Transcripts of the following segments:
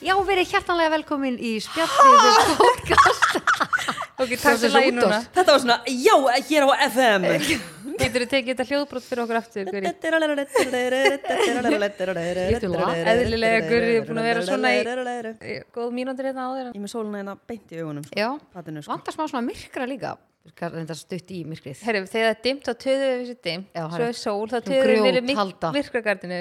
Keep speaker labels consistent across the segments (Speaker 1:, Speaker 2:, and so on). Speaker 1: Já, verið hjartanlega velkomin í spjallið við podcast Svo
Speaker 2: Ok, takk
Speaker 1: þessi
Speaker 2: fyrir lagi
Speaker 1: útvarp.
Speaker 2: núna.
Speaker 3: Þetta var svona, já, hér á FM
Speaker 2: Getur þið tekið þetta hljóðbrot fyrir okkur aftur, Guri?
Speaker 1: Lítið lag.
Speaker 2: Eðlilega, Guri, er búin að vera svona í í góð mínúndir hérna áður.
Speaker 3: Ég er með sóluna hérna beint í augunum sko.
Speaker 1: Já,
Speaker 3: Fatinu, sko.
Speaker 1: vantar smá svona myrkra líka Þetta stutt í myrkrið
Speaker 2: Herru, þegar það er dimt, þá töðum við þessu dimt.
Speaker 1: Já,
Speaker 2: Svo
Speaker 1: herru.
Speaker 2: er sól, þá
Speaker 1: Svona
Speaker 2: töðum við niður í
Speaker 1: grjóthalda.
Speaker 2: myrk- myrkra gardinu.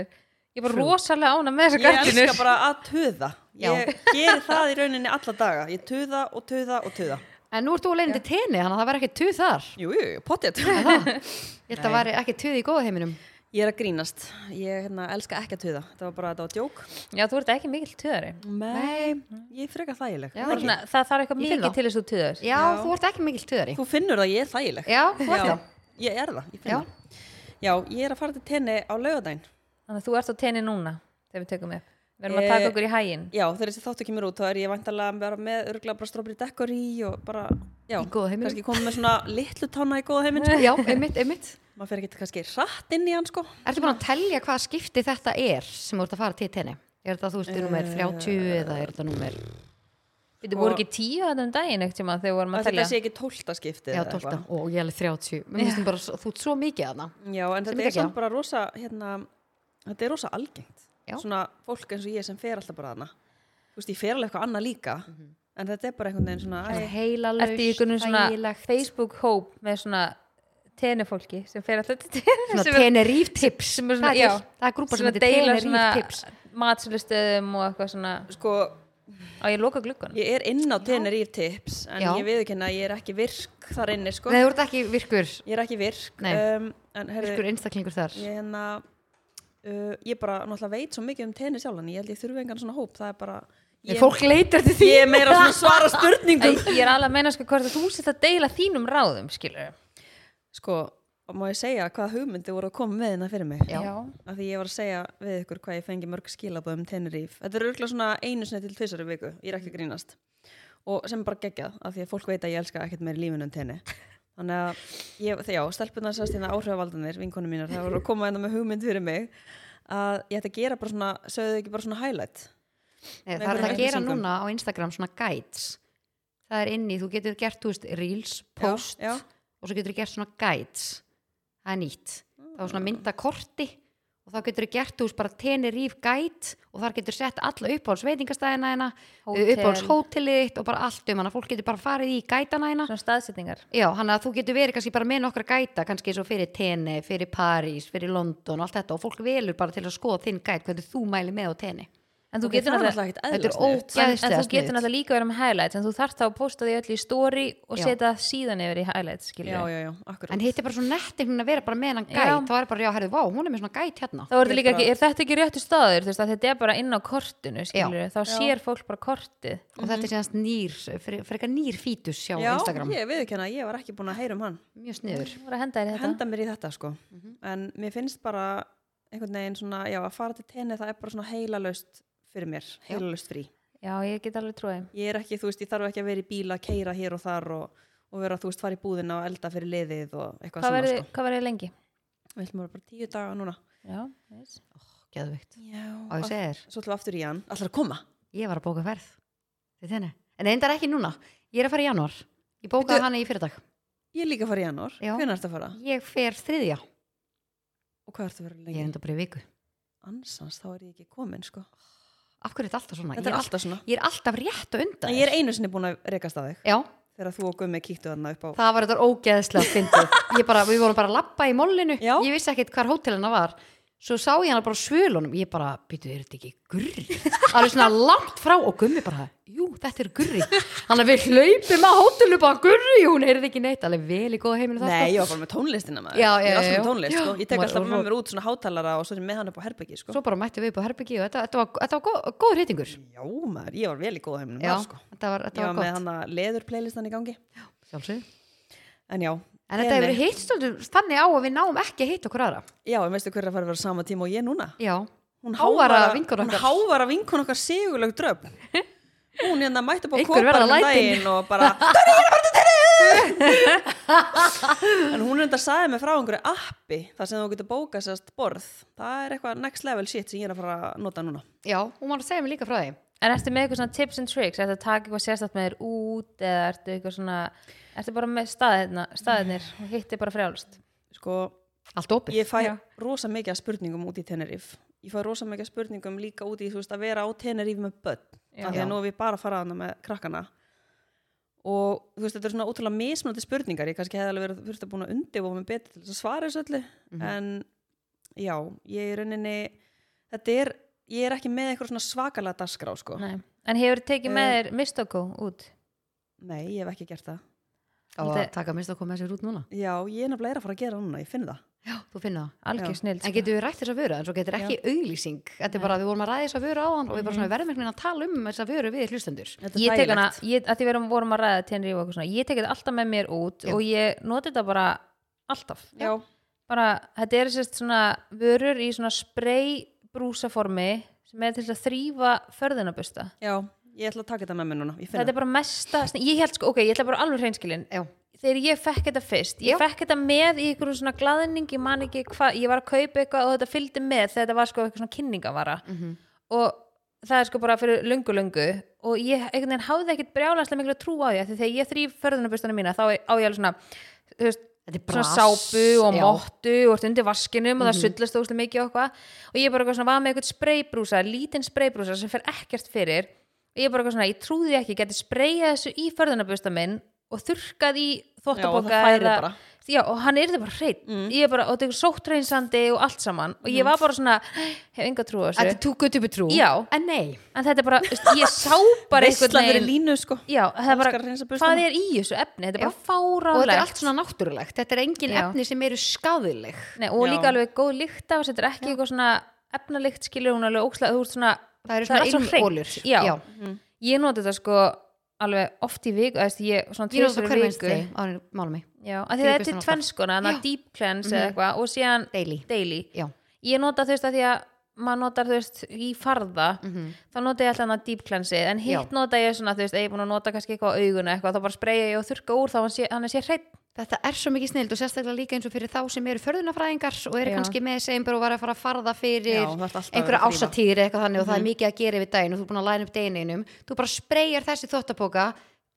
Speaker 2: Ég var rosalega ána með þessa
Speaker 3: Ég
Speaker 2: gardinu.
Speaker 3: elska bara að töða
Speaker 1: Já.
Speaker 3: Ég geri það í rauninni alla daga Ég töða og töða og töða
Speaker 1: En nú ert þú að leiðin til tenni, þannig að það verður ekki tuð þar
Speaker 3: Jú, jú, jú, potið
Speaker 1: Er það? Ég held að það væri ekki tuð í góða heiminum
Speaker 3: Ég er að grínast Ég hérna, elska ekki að töða Þetta var bara, þetta var djók
Speaker 2: Já, þú ert ekki mikill töðari.
Speaker 3: Nei, ég er frekar þægileg
Speaker 1: Já.
Speaker 3: Það
Speaker 2: Bara
Speaker 3: ekki.
Speaker 2: Svona, það þarf
Speaker 1: Ég
Speaker 2: eitthvað
Speaker 1: finn
Speaker 2: mikið
Speaker 1: það.
Speaker 2: til þess að þú töðar.
Speaker 1: Já, þú ert ekki mikill tuðari
Speaker 3: Þú finnur það, ég er þægileg
Speaker 1: Já, þú ert
Speaker 3: Já,
Speaker 1: það
Speaker 3: ég er það, ég finn
Speaker 1: Já.
Speaker 3: það Já, ég er að fara til tenni á laugardaginn
Speaker 2: Þannig að þú ert á tenni núna, þegar við tökum upp. Við erum að
Speaker 3: Eh,
Speaker 2: taka okkur í hæginn.
Speaker 3: Já, þegar þessi þáttu kemur út þá er ég vantarlega að vera með örgulega bara strópir í dekkar í og bara, já,
Speaker 1: Í góða heiminum.
Speaker 3: kannski komið með svona litlu tanna í góða heiminn sko.
Speaker 1: Já, einmitt, einmitt
Speaker 3: maður fer ekki kannski rætt inn í hann sko
Speaker 1: Ertu búin að telja hvaða skipti þetta er sem þú ert að fara til tenni? Er þetta, þú veist, nummer 30 eða er þetta nummer
Speaker 2: Við vorum ekki tíu að um daginn ekkert tíma þegar við vorum að
Speaker 3: Ætli
Speaker 2: telja.
Speaker 3: þetta sé ekki tólta skiptið
Speaker 1: Já,
Speaker 3: eða
Speaker 1: 12
Speaker 3: eitthvað.
Speaker 1: og ég er alveg 30 Mér finnst bara, svo- þú ert svo mikið að
Speaker 3: Já, en
Speaker 1: Sem
Speaker 3: þetta
Speaker 1: ég
Speaker 3: er samt
Speaker 1: gekkja.
Speaker 3: bara rosa hérna, þetta er rosa algengt
Speaker 1: Já.
Speaker 3: svona fólk eins og ég sem fer alltaf bara þarna þú veist, ég fer alveg eitthvað annað líka
Speaker 1: Mhm.
Speaker 3: en þetta er bara einhvern veginn svona æ,
Speaker 1: Heilalaust,
Speaker 2: Ertu í einhvern veginn svona
Speaker 1: þægilegt.
Speaker 2: Facebook-hóp með svona tenifólki sem fer alltaf til tenni
Speaker 1: svona
Speaker 2: sem er-
Speaker 1: Tenerife tips
Speaker 2: sem er
Speaker 1: það,
Speaker 2: svona,
Speaker 1: er,
Speaker 2: já,
Speaker 1: til. það er grúpa sem
Speaker 2: sem
Speaker 1: heitir
Speaker 2: deila
Speaker 1: Tenerife tips
Speaker 2: svona matsölustöðum og eitthvað svona
Speaker 3: sko,
Speaker 2: á ég loka glukkan
Speaker 3: ég er inn á Tenerife tips en
Speaker 1: Já.
Speaker 3: ég viðurkenna að ég er ekki virk þar inni sko,
Speaker 1: Nei, þú ert ekki virkur,
Speaker 3: ég er ekki virk
Speaker 1: Nei.
Speaker 3: um, en herri,
Speaker 1: virkur einstaklingur þar
Speaker 3: ég hérna uh, ég bara náttúrulega veit svo mikið um tennis sjálfan ég held ég þurfi engan svona hóp, það er bara
Speaker 1: ég,
Speaker 3: ég,
Speaker 1: Fólk leitar til því
Speaker 3: ég er meira svona að
Speaker 2: Æ,
Speaker 3: svara spurningum
Speaker 2: ég er alveg að meina sko hvort að þú sitt að deila þínum ráðum skilur
Speaker 3: sko, og má ég segja hvað hugmyndi voru að koma með hérna fyrir mig
Speaker 1: Já.
Speaker 3: af því ég var að segja við ykkur hvað ég fengi mörg skilabóð um Tenerife þetta er örgulega svona einu sinni til tvisari viku ég er ekki að grínast og sem er bara geggjað, af því að fólk veit að ég elska ekkert meir lífinu en tenni þannig að, ég, þegar já, stelpunar sérst hérna áhrifavaldanir, vinkonu mínar það voru að koma hérna með hugmynd fyrir mig að ég ætti að gera bara svona, sögðu þau ekki bara svona highlight
Speaker 1: Nei, Það
Speaker 3: með
Speaker 1: er það
Speaker 3: einhverjum
Speaker 1: að gera
Speaker 3: upplýsingum.
Speaker 1: núna á Instagram svona guides Það er inni, þú getur gert, þú veist, reels, post
Speaker 3: já.
Speaker 1: og svo getur þú gert svona guides Það er nýtt Það var svona
Speaker 2: Mm.
Speaker 1: mynda korti og þá getur þú gert, þú veist, bara Tenerife guide og þar getur sett alla uppáhalds veitingastæðina hérna,
Speaker 2: Hótel.
Speaker 1: uppáhalds hótelið þitt og bara allt um hana, fólk getur bara farið í guidana hérna
Speaker 2: svona staðsetningar
Speaker 1: Já, hann að þú getur verið kannski bara með nokkra gæta kannski eins og fyrir tenni, fyrir París fyrir London og allt þetta og fólk velur bara til að skoða þinn gæt hvernig þú mæli með á tenni
Speaker 2: en þú
Speaker 3: Ok,
Speaker 2: getur
Speaker 3: það er
Speaker 2: náttúrulega
Speaker 3: náttúrulega ekkert
Speaker 1: Þetta er
Speaker 3: eðlilega sniðugt.
Speaker 2: en, en
Speaker 1: ógæðslega
Speaker 2: þú getur náttúrulega líka verið með highlights en þú þarft þá að posta því öll í story og
Speaker 1: Já.
Speaker 2: setja það síðan yfir í highlights skilur
Speaker 3: já, já, já, akkurat
Speaker 1: En hitt er bara svo nett einhvern veginn að vera bara með hennan
Speaker 2: Já.
Speaker 1: gæt þá er bara, já, herrðu, vá, hún er með svona gæt hérna
Speaker 2: þá er, þetta
Speaker 3: Ég
Speaker 2: líka
Speaker 3: bara-
Speaker 2: ekki, er þetta ekki réttu staður þú veist, að þetta er bara inn á kortinu skilur þá sér fólk bara kortið
Speaker 1: og þetta er séðast nýr, fyrir, fyrir eitthvað nýr fítus hjá
Speaker 3: Mhm. já,
Speaker 1: Instagram,
Speaker 3: ég veðurkenna, ég var ekki búin að heyra um hann
Speaker 1: mjög sniður
Speaker 2: Þú voru að henda þér í þetta
Speaker 3: henda mér í þetta sko
Speaker 2: Mhm.
Speaker 3: en mér finnst bara einhvern veginn svona, já, að fara til tenni það er bara svona heilalaust fyrir mér heilalaust frí.
Speaker 2: já, ég get alveg trúið
Speaker 3: Ég er ekki, þú veist, ég þarf ekki að vera í bíla að keira hér og þar og, og vera, þú veist, fara í búðina og elda fyrir liðið og eitthvað
Speaker 2: hvað
Speaker 3: svona
Speaker 2: verði-
Speaker 3: sko.
Speaker 2: hvað verður lengi?
Speaker 3: Við ætlum að vera bara tíu daga núna
Speaker 2: já, veist
Speaker 1: Geðveikt.
Speaker 3: Já,
Speaker 1: Og ég segi þér,
Speaker 3: Svo ætlum við aftur í hann, allar að koma
Speaker 1: ég var að bóka ferð til tenni, en eindar ekki núna ég er að fara í janúar, ég bókaði
Speaker 3: Bíddu.
Speaker 1: hana í fyrirdag
Speaker 3: Ég er líka að fara í janúar,
Speaker 1: Já.
Speaker 3: hvenær ertu að fara?
Speaker 1: ég fer þriðja,
Speaker 3: Og hvað ertu að vera
Speaker 1: ég er
Speaker 3: lengi?
Speaker 1: enda bara í viku
Speaker 3: Ansans, þá er ég ekki komin sko.
Speaker 1: af hverju er þetta alltaf svona? Ég
Speaker 3: Þetta er
Speaker 1: all-
Speaker 3: alltaf svona
Speaker 1: ég er alltaf rétt og undan
Speaker 3: En ég er einu sinni búin að rekast að þig
Speaker 1: já,
Speaker 3: Þegar þú og Gummi kíktu þarna upp á
Speaker 1: það var þetta ógeðslega fyndið ég bara, við vorum bara að labba í mollinu
Speaker 3: Já.
Speaker 1: ég vissi ekkit hvar hótelina var svo sá ég hana bara á svölunum ég bara, býtu, er þetta ekki gurri alveg svona langt frá og gummi bara jú, þetta er gurri þannig að við hlaupum að hótelu bara gurri hún er þetta ekki neitt, alveg vel í góða heiminu þar,
Speaker 3: Nei,
Speaker 1: sko.
Speaker 3: ég var bara með tónlistina maður
Speaker 1: Já, já,
Speaker 3: Ég er alltaf
Speaker 1: já,
Speaker 3: með
Speaker 1: já.
Speaker 3: tónlist, sko Ég tek
Speaker 1: Maður-
Speaker 3: alltaf
Speaker 1: og
Speaker 3: með
Speaker 1: svo-
Speaker 3: mér út svona hátalara og svo er ég með hann upp á herbyggi, sko
Speaker 1: svo bara mættum við upp á herbyggi og þetta, þetta var, þetta var góð, góður heitingur
Speaker 3: Já, maður, ég var vel í góða heiminum
Speaker 1: já,
Speaker 3: maður, sko.
Speaker 1: þetta var,
Speaker 3: Ég
Speaker 1: þetta
Speaker 3: var
Speaker 1: var
Speaker 3: með
Speaker 1: gott
Speaker 3: hann að leður playlistan í gangi
Speaker 1: Sjálfsögðu.
Speaker 3: En já,
Speaker 1: en þetta hefur
Speaker 3: Eni-
Speaker 1: hitt stundum þannig á að við náum ekki að hitta okkur aðra
Speaker 3: Já, en veistu hver er að fara að vera á sama tíma og ég núna?
Speaker 1: já,
Speaker 3: Hún
Speaker 1: Hávara vinkona
Speaker 3: hún
Speaker 1: okkar.
Speaker 3: Hávara vinkona okkar sigurleg dröf Hún hérna mætti upp á
Speaker 1: Einhver verða
Speaker 3: kóparinn um
Speaker 1: lætin.
Speaker 3: daginn og bara En hún reynda sagði mig frá einhverju appi þar sem þú getur bókað sérst borð Það er eitthvað next level shit sem ég er að fara að nota núna
Speaker 1: já, hún var að segja mér líka frá því
Speaker 2: En ertu með eitthvað svona tips and tricks? Ertu að taka eitthvað sérstætt með þér út eða ertu eitthvað svona, ertu bara með staðirna, staðirnir og hittir bara frjálst?
Speaker 3: sko,
Speaker 1: allt opið
Speaker 3: ég fæ
Speaker 2: Já.
Speaker 3: rosa mikið af spurningum út í Teneríf ég fæ rosa mikið af spurningum líka út í þú veist, að vera á Teneríf með börn
Speaker 2: Já.
Speaker 3: af því
Speaker 1: Já.
Speaker 3: að nú er við bara að fara hana með krakkana og þú veist, þetta eru svona ótrúlega mismunandi spurningar ég kannski hefði alveg verið þurft að búin að undirbúa mig betur til þess að svara þessu öllu
Speaker 2: Mhm.
Speaker 1: Mhm.
Speaker 3: en já, ég er rauninni þetta er, ég er ekki með eitthvað svona svakalega dagskrá sko.
Speaker 2: Nei. En hefur tekið með
Speaker 1: Eh,
Speaker 2: þér Mistoko út?
Speaker 3: nei, ég hef ekki gert það
Speaker 1: á að
Speaker 2: Þetta-
Speaker 1: taka mist að koma þessi út núna
Speaker 3: já, ég er nefnilega er að fara að gera það núna, ég finn það
Speaker 1: já, þú finna það
Speaker 2: Algjör sko.
Speaker 3: Já.
Speaker 2: snill.
Speaker 1: En getum við rætt þessa vöru, en svo getur ekki auglýsing Þetta er bara að við vorum að ræða þessa vöru á og við bara svona verðum einhvern veginn að tala um þessa vöru við hlustendur
Speaker 3: Þetta er
Speaker 2: Ég tek
Speaker 3: þægilegt.
Speaker 2: hana, ég, að því við erum- vorum að ræða tenri og eitthvað svona, ég tek þetta alltaf með mér út
Speaker 1: Já.
Speaker 2: og ég noti þetta bara alltaf.
Speaker 3: já,
Speaker 2: Bara, þetta er sérst svona vörur í svona spray brúsaformi sem er til þess að þrýfa förðunabusta.
Speaker 3: já, ég ætla að taka þetta með mér núna ég finn
Speaker 2: Þetta er bara mesta, snill- ég held sko, ok, ég ætla bara alveg hreinskilin,
Speaker 1: Já,
Speaker 2: þegar ég fekk þetta fyrst ég fekk þetta með í einhverjum svona glaðning ég man ekki hvað, ég var að kaupa eitthvað og þetta fylgdi með þegar þetta var sko eitthvað svona kynningavara og það er sko bara fyrir lungu lungu og ég einhvern veginn hafði ekkit brjálæslega miklu trú á því af því þegar ég þrýf förðunarbustana mína þá á ég alveg svona, þú veist,
Speaker 1: þetta er
Speaker 2: svona
Speaker 1: brass
Speaker 2: sápu og
Speaker 1: já.
Speaker 2: móttu og ert undir vaskinum og
Speaker 3: Mhm.
Speaker 2: það sullast óslega um mikið og eitthvað og ég bara eitthvað svona var með eitthvað spreybrúsa lítinn spreybrúsa sem fer ekkert fyrir og ég bara eitthvað svona, ég trúði ekki, ég geti spreyjað þessu í förðunabusta minn og þurrkað í þvóttaboka
Speaker 3: Já, og það færi bara. Mhm.
Speaker 2: já, og hann yrði bara hreitt ég er bara, og þetta er sóttreinsandi og allt saman og ég var bara svona, hef enga trú á
Speaker 1: Þetta
Speaker 2: þessu
Speaker 1: er too good to be true
Speaker 2: Já.
Speaker 1: En nei,
Speaker 2: en þetta er bara, ég sá bara einhvern
Speaker 3: Veistla fyrir
Speaker 2: veginn-
Speaker 3: línu sko
Speaker 2: já, það er bara,
Speaker 3: Elskar að hreinsa burstana.
Speaker 2: hvað er í þessu efni þetta er bara
Speaker 1: og þetta er
Speaker 2: fáránlegt
Speaker 1: allt svona náttúrulegt Þetta er engin
Speaker 2: Já.
Speaker 1: efni sem eru skadileg
Speaker 2: Nei, og
Speaker 3: Já.
Speaker 2: líka alveg góð lykt af þessu, þetta er ekki eitthvað svona efnalikt skilur hún er alveg ókslega, þú ert svona
Speaker 1: Það eru
Speaker 2: allt
Speaker 1: svona
Speaker 2: svo hreint.
Speaker 1: ilmólur
Speaker 2: Já, ég noti þetta sko alveg oft í vik, þú veist, ég svona
Speaker 1: Ég er þetta
Speaker 2: tvisvar í
Speaker 1: hver
Speaker 2: viku.
Speaker 1: minnst þig á málum mig
Speaker 2: Já, af því
Speaker 1: Þrír
Speaker 2: þetta
Speaker 1: bisnir
Speaker 2: er
Speaker 1: alltaf.
Speaker 2: tvennskona, þannig
Speaker 1: Já.
Speaker 2: að deep cleanse eða eitthvað og síðan
Speaker 1: Daily
Speaker 2: daily.
Speaker 1: Já,
Speaker 2: Ég nota þú veist að því að maður notar þú veist í farða
Speaker 1: Mhm.
Speaker 2: þá nota ég alltaf þannig deep cleanse en hitt nota ég svona þú veist, ef ég er búin að nota kannski eitthvað á auguna eitthvað, þá bara spreyja ég og þurrka úr þá hann sé, hann sé hreitt.
Speaker 1: þetta er svo mikið snild og sérstaklega líka eins og fyrir þá sem eru förðunafræðingar og eru
Speaker 2: Já.
Speaker 1: kannski með segjum bara og var að fara að farða fyrir
Speaker 3: Já, það er alltaf að
Speaker 1: einhverja
Speaker 3: vera að þrífa.
Speaker 1: ásatíðir eitthvað þannig og það er mikið að gera yfir daginn og þú er búin að læna upp deginum þú bara spreyjar þessi þóttapoka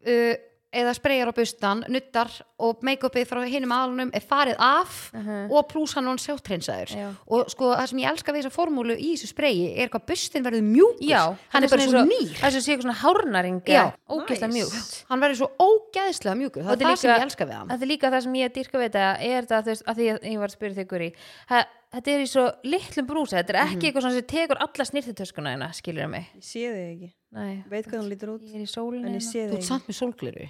Speaker 1: uh, eða spreyjar á bustan, nuttar og make-upið frá hinum aðlunum er farið af og pluss hann hún
Speaker 2: Já.
Speaker 1: sjáttreinsaður og sko það sem ég elska við þessa formúlu í þessu spreyi er hvað bustin verður mjúkur
Speaker 2: Já,
Speaker 1: hann er bara svo nýr
Speaker 2: Það er svo sé eitthvað svona hárnaringa,
Speaker 1: Já.
Speaker 2: ógeðslega
Speaker 3: Nice.
Speaker 2: mjúkt.
Speaker 1: hann verður svo ógæðslega mjúkur það
Speaker 2: Og
Speaker 1: er það sem ég elska við hann
Speaker 2: þetta er líka það sem ég dýrka við þetta er það, þú veist, að því að ég var að spyrja þig Guri það- þetta er í svo litlum brúsa þetta er
Speaker 1: Mhm.
Speaker 2: ekki eitthvað svona sem tekur alla snirtutöskuna þína, skilur mig
Speaker 3: Ég sé þig ekki,
Speaker 2: Nei,
Speaker 3: Ég veit hvað hún lítur út
Speaker 2: ég er í sólinu
Speaker 3: En ég
Speaker 2: hérna.
Speaker 3: sé
Speaker 1: þú
Speaker 3: þig
Speaker 1: ert
Speaker 3: ekki
Speaker 1: samt með sólgliru,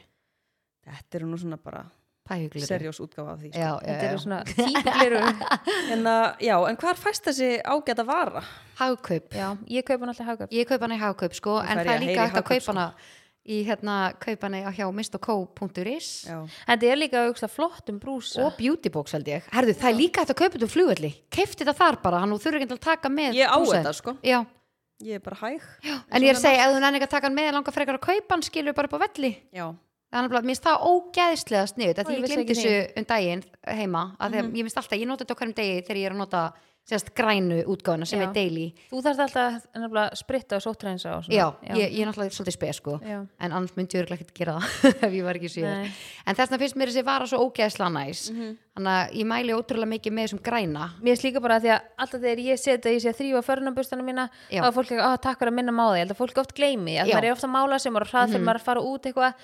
Speaker 3: Þetta eru nú svona bara
Speaker 1: pæhugliru
Speaker 3: serjós útgáfa af því sko.
Speaker 1: já, já,
Speaker 2: þetta
Speaker 1: já.
Speaker 2: eru svona típugleru
Speaker 3: en, uh, já, en hvar fæst þessi ágæta vara?
Speaker 1: hagkaup,
Speaker 2: Já, ég kaupa hann alltaf hagkaup
Speaker 1: ég kaup hana í hagkaup sko,
Speaker 3: Nú
Speaker 1: en það
Speaker 3: fer ég
Speaker 1: er
Speaker 3: að
Speaker 1: líka
Speaker 3: heyra í
Speaker 1: hægt að
Speaker 3: Hagkaup, sko.
Speaker 1: kaup hana í hérna, kaup hana hjá mistoko.is
Speaker 3: Já,
Speaker 2: Þetta er líka auðvitað flottum brúsa
Speaker 1: og beautybox held ég, herðu það er líka hægt að kaupa þetta um flugvelli, keifti þetta þar bara hann og þurfi ekki að taka með
Speaker 3: ég á
Speaker 1: brúsaðinn.
Speaker 3: þetta sko
Speaker 1: já,
Speaker 3: Ég er bara hæg
Speaker 1: já. en ég er að segja, ef þú nenni ekki að taka hann með langar frekar að kaupa hann skilur bara upp á velli
Speaker 3: Já,
Speaker 1: Þannig að mér finnst það ógeðslega sniðut
Speaker 2: Ó,
Speaker 1: Þetta
Speaker 2: ég
Speaker 1: ég
Speaker 2: vissi
Speaker 1: glemdi
Speaker 2: ekki
Speaker 1: þessu um daginn heima að mm
Speaker 3: Mhm.
Speaker 1: -hmm. Ég finnst alltaf, ég nota þetta okkur um degi þegar ég er að nota sérst grænu útgáfuna sem
Speaker 2: Já.
Speaker 1: er daily
Speaker 2: Þú þarft alltaf nefnilega að spritta og sóttrænsa og svona.
Speaker 1: Já, Ég, ég er náttúrulega svolítið spes sko
Speaker 2: Já.
Speaker 1: en annars myndi ég örugglega ekkert gera það ef ég var ekki síður
Speaker 2: Nei. Mhm.
Speaker 1: en þess vegna finnst mér þessi vara svo ógeðslega næs þannig að ég mæli ótrúlega mikið með þessum græna
Speaker 2: Mér slíka bara að því að alltaf þegar ég setja ég sé að þrýfa förunabustana mína
Speaker 1: Já.
Speaker 2: þá er fólk ekki, að takk fyrir að minna máði, ég held að fólk oft gleymi að
Speaker 1: Já. Mhm.
Speaker 2: maður er ofta að mála sem maður er hrað fyrir maður er að fara út eitthvað